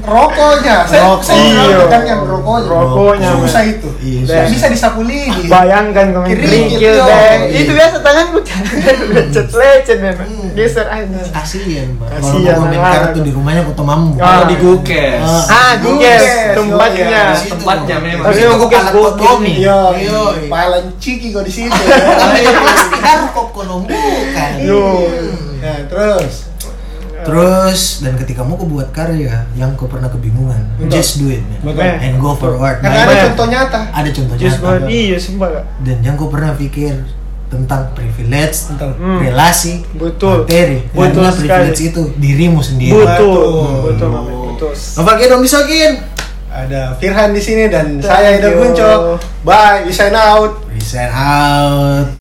B: rokoknya saya
D: Rokok.
B: saya selalu
C: Iya.
B: tegangnya rokoknya
C: Rokoknya,
B: susah
C: men.
B: itu
D: Iya,
B: Nggak
C: susah.
B: bisa disapu lidi
C: Bayangkan kau main
B: Kerikil,
C: kerikil,
B: yo.
C: Bang.
D: Iya.
C: Itu biasa tangan lu kan. lecet lecet memang.
D: Hmm.
C: Geser aja.
D: Kasian, Pak. Kalau
C: Kasian,
D: mau main
C: anak.
D: kartu di rumahnya kok mampu.
C: Ah.
E: Kalau di Gukes.
D: Ah.
C: Ah,
B: Yes,
C: guys,
B: yo,
C: tempatnya.
E: yes. Tempatnya memang.
D: Tapi
C: Tapi
D: itu
C: mungkin
D: kepala
C: gua-
D: kotomi.
B: Yo,
A: Iya,
D: Yo.
B: paling ciki kok di situ.
D: Kalau itu pasti harkok konom bukan.
B: Iya.
C: Yo.
B: Nah, terus
A: Terus dan ketika mau kau buat karya yang kau pernah kebingungan,
B: Betul.
A: just do it man.
B: Betul.
A: And go forward.
B: Karena
A: Nah,
B: Kan ada
C: Banyak.
B: contoh nyata.
A: ada contoh
C: Just buat
A: nyata.
C: iya sumpah Kak.
A: Dan yang kau pernah pikir tentang privilege,
B: Tentang
C: Hmm.
A: relasi,
C: Betul.
A: materi.
C: Betul
A: Karena
C: sekali.
A: privilege itu Iya, dirimu sendiri.
C: Betul.
B: Betul.
C: Betul, Mamet, betul.
A: Apa kita bisa kin?
B: ada Firhan di sini dan
C: Thank
B: saya Ida
C: you.
B: Gunco. Bye, we sign out.
A: Reset out.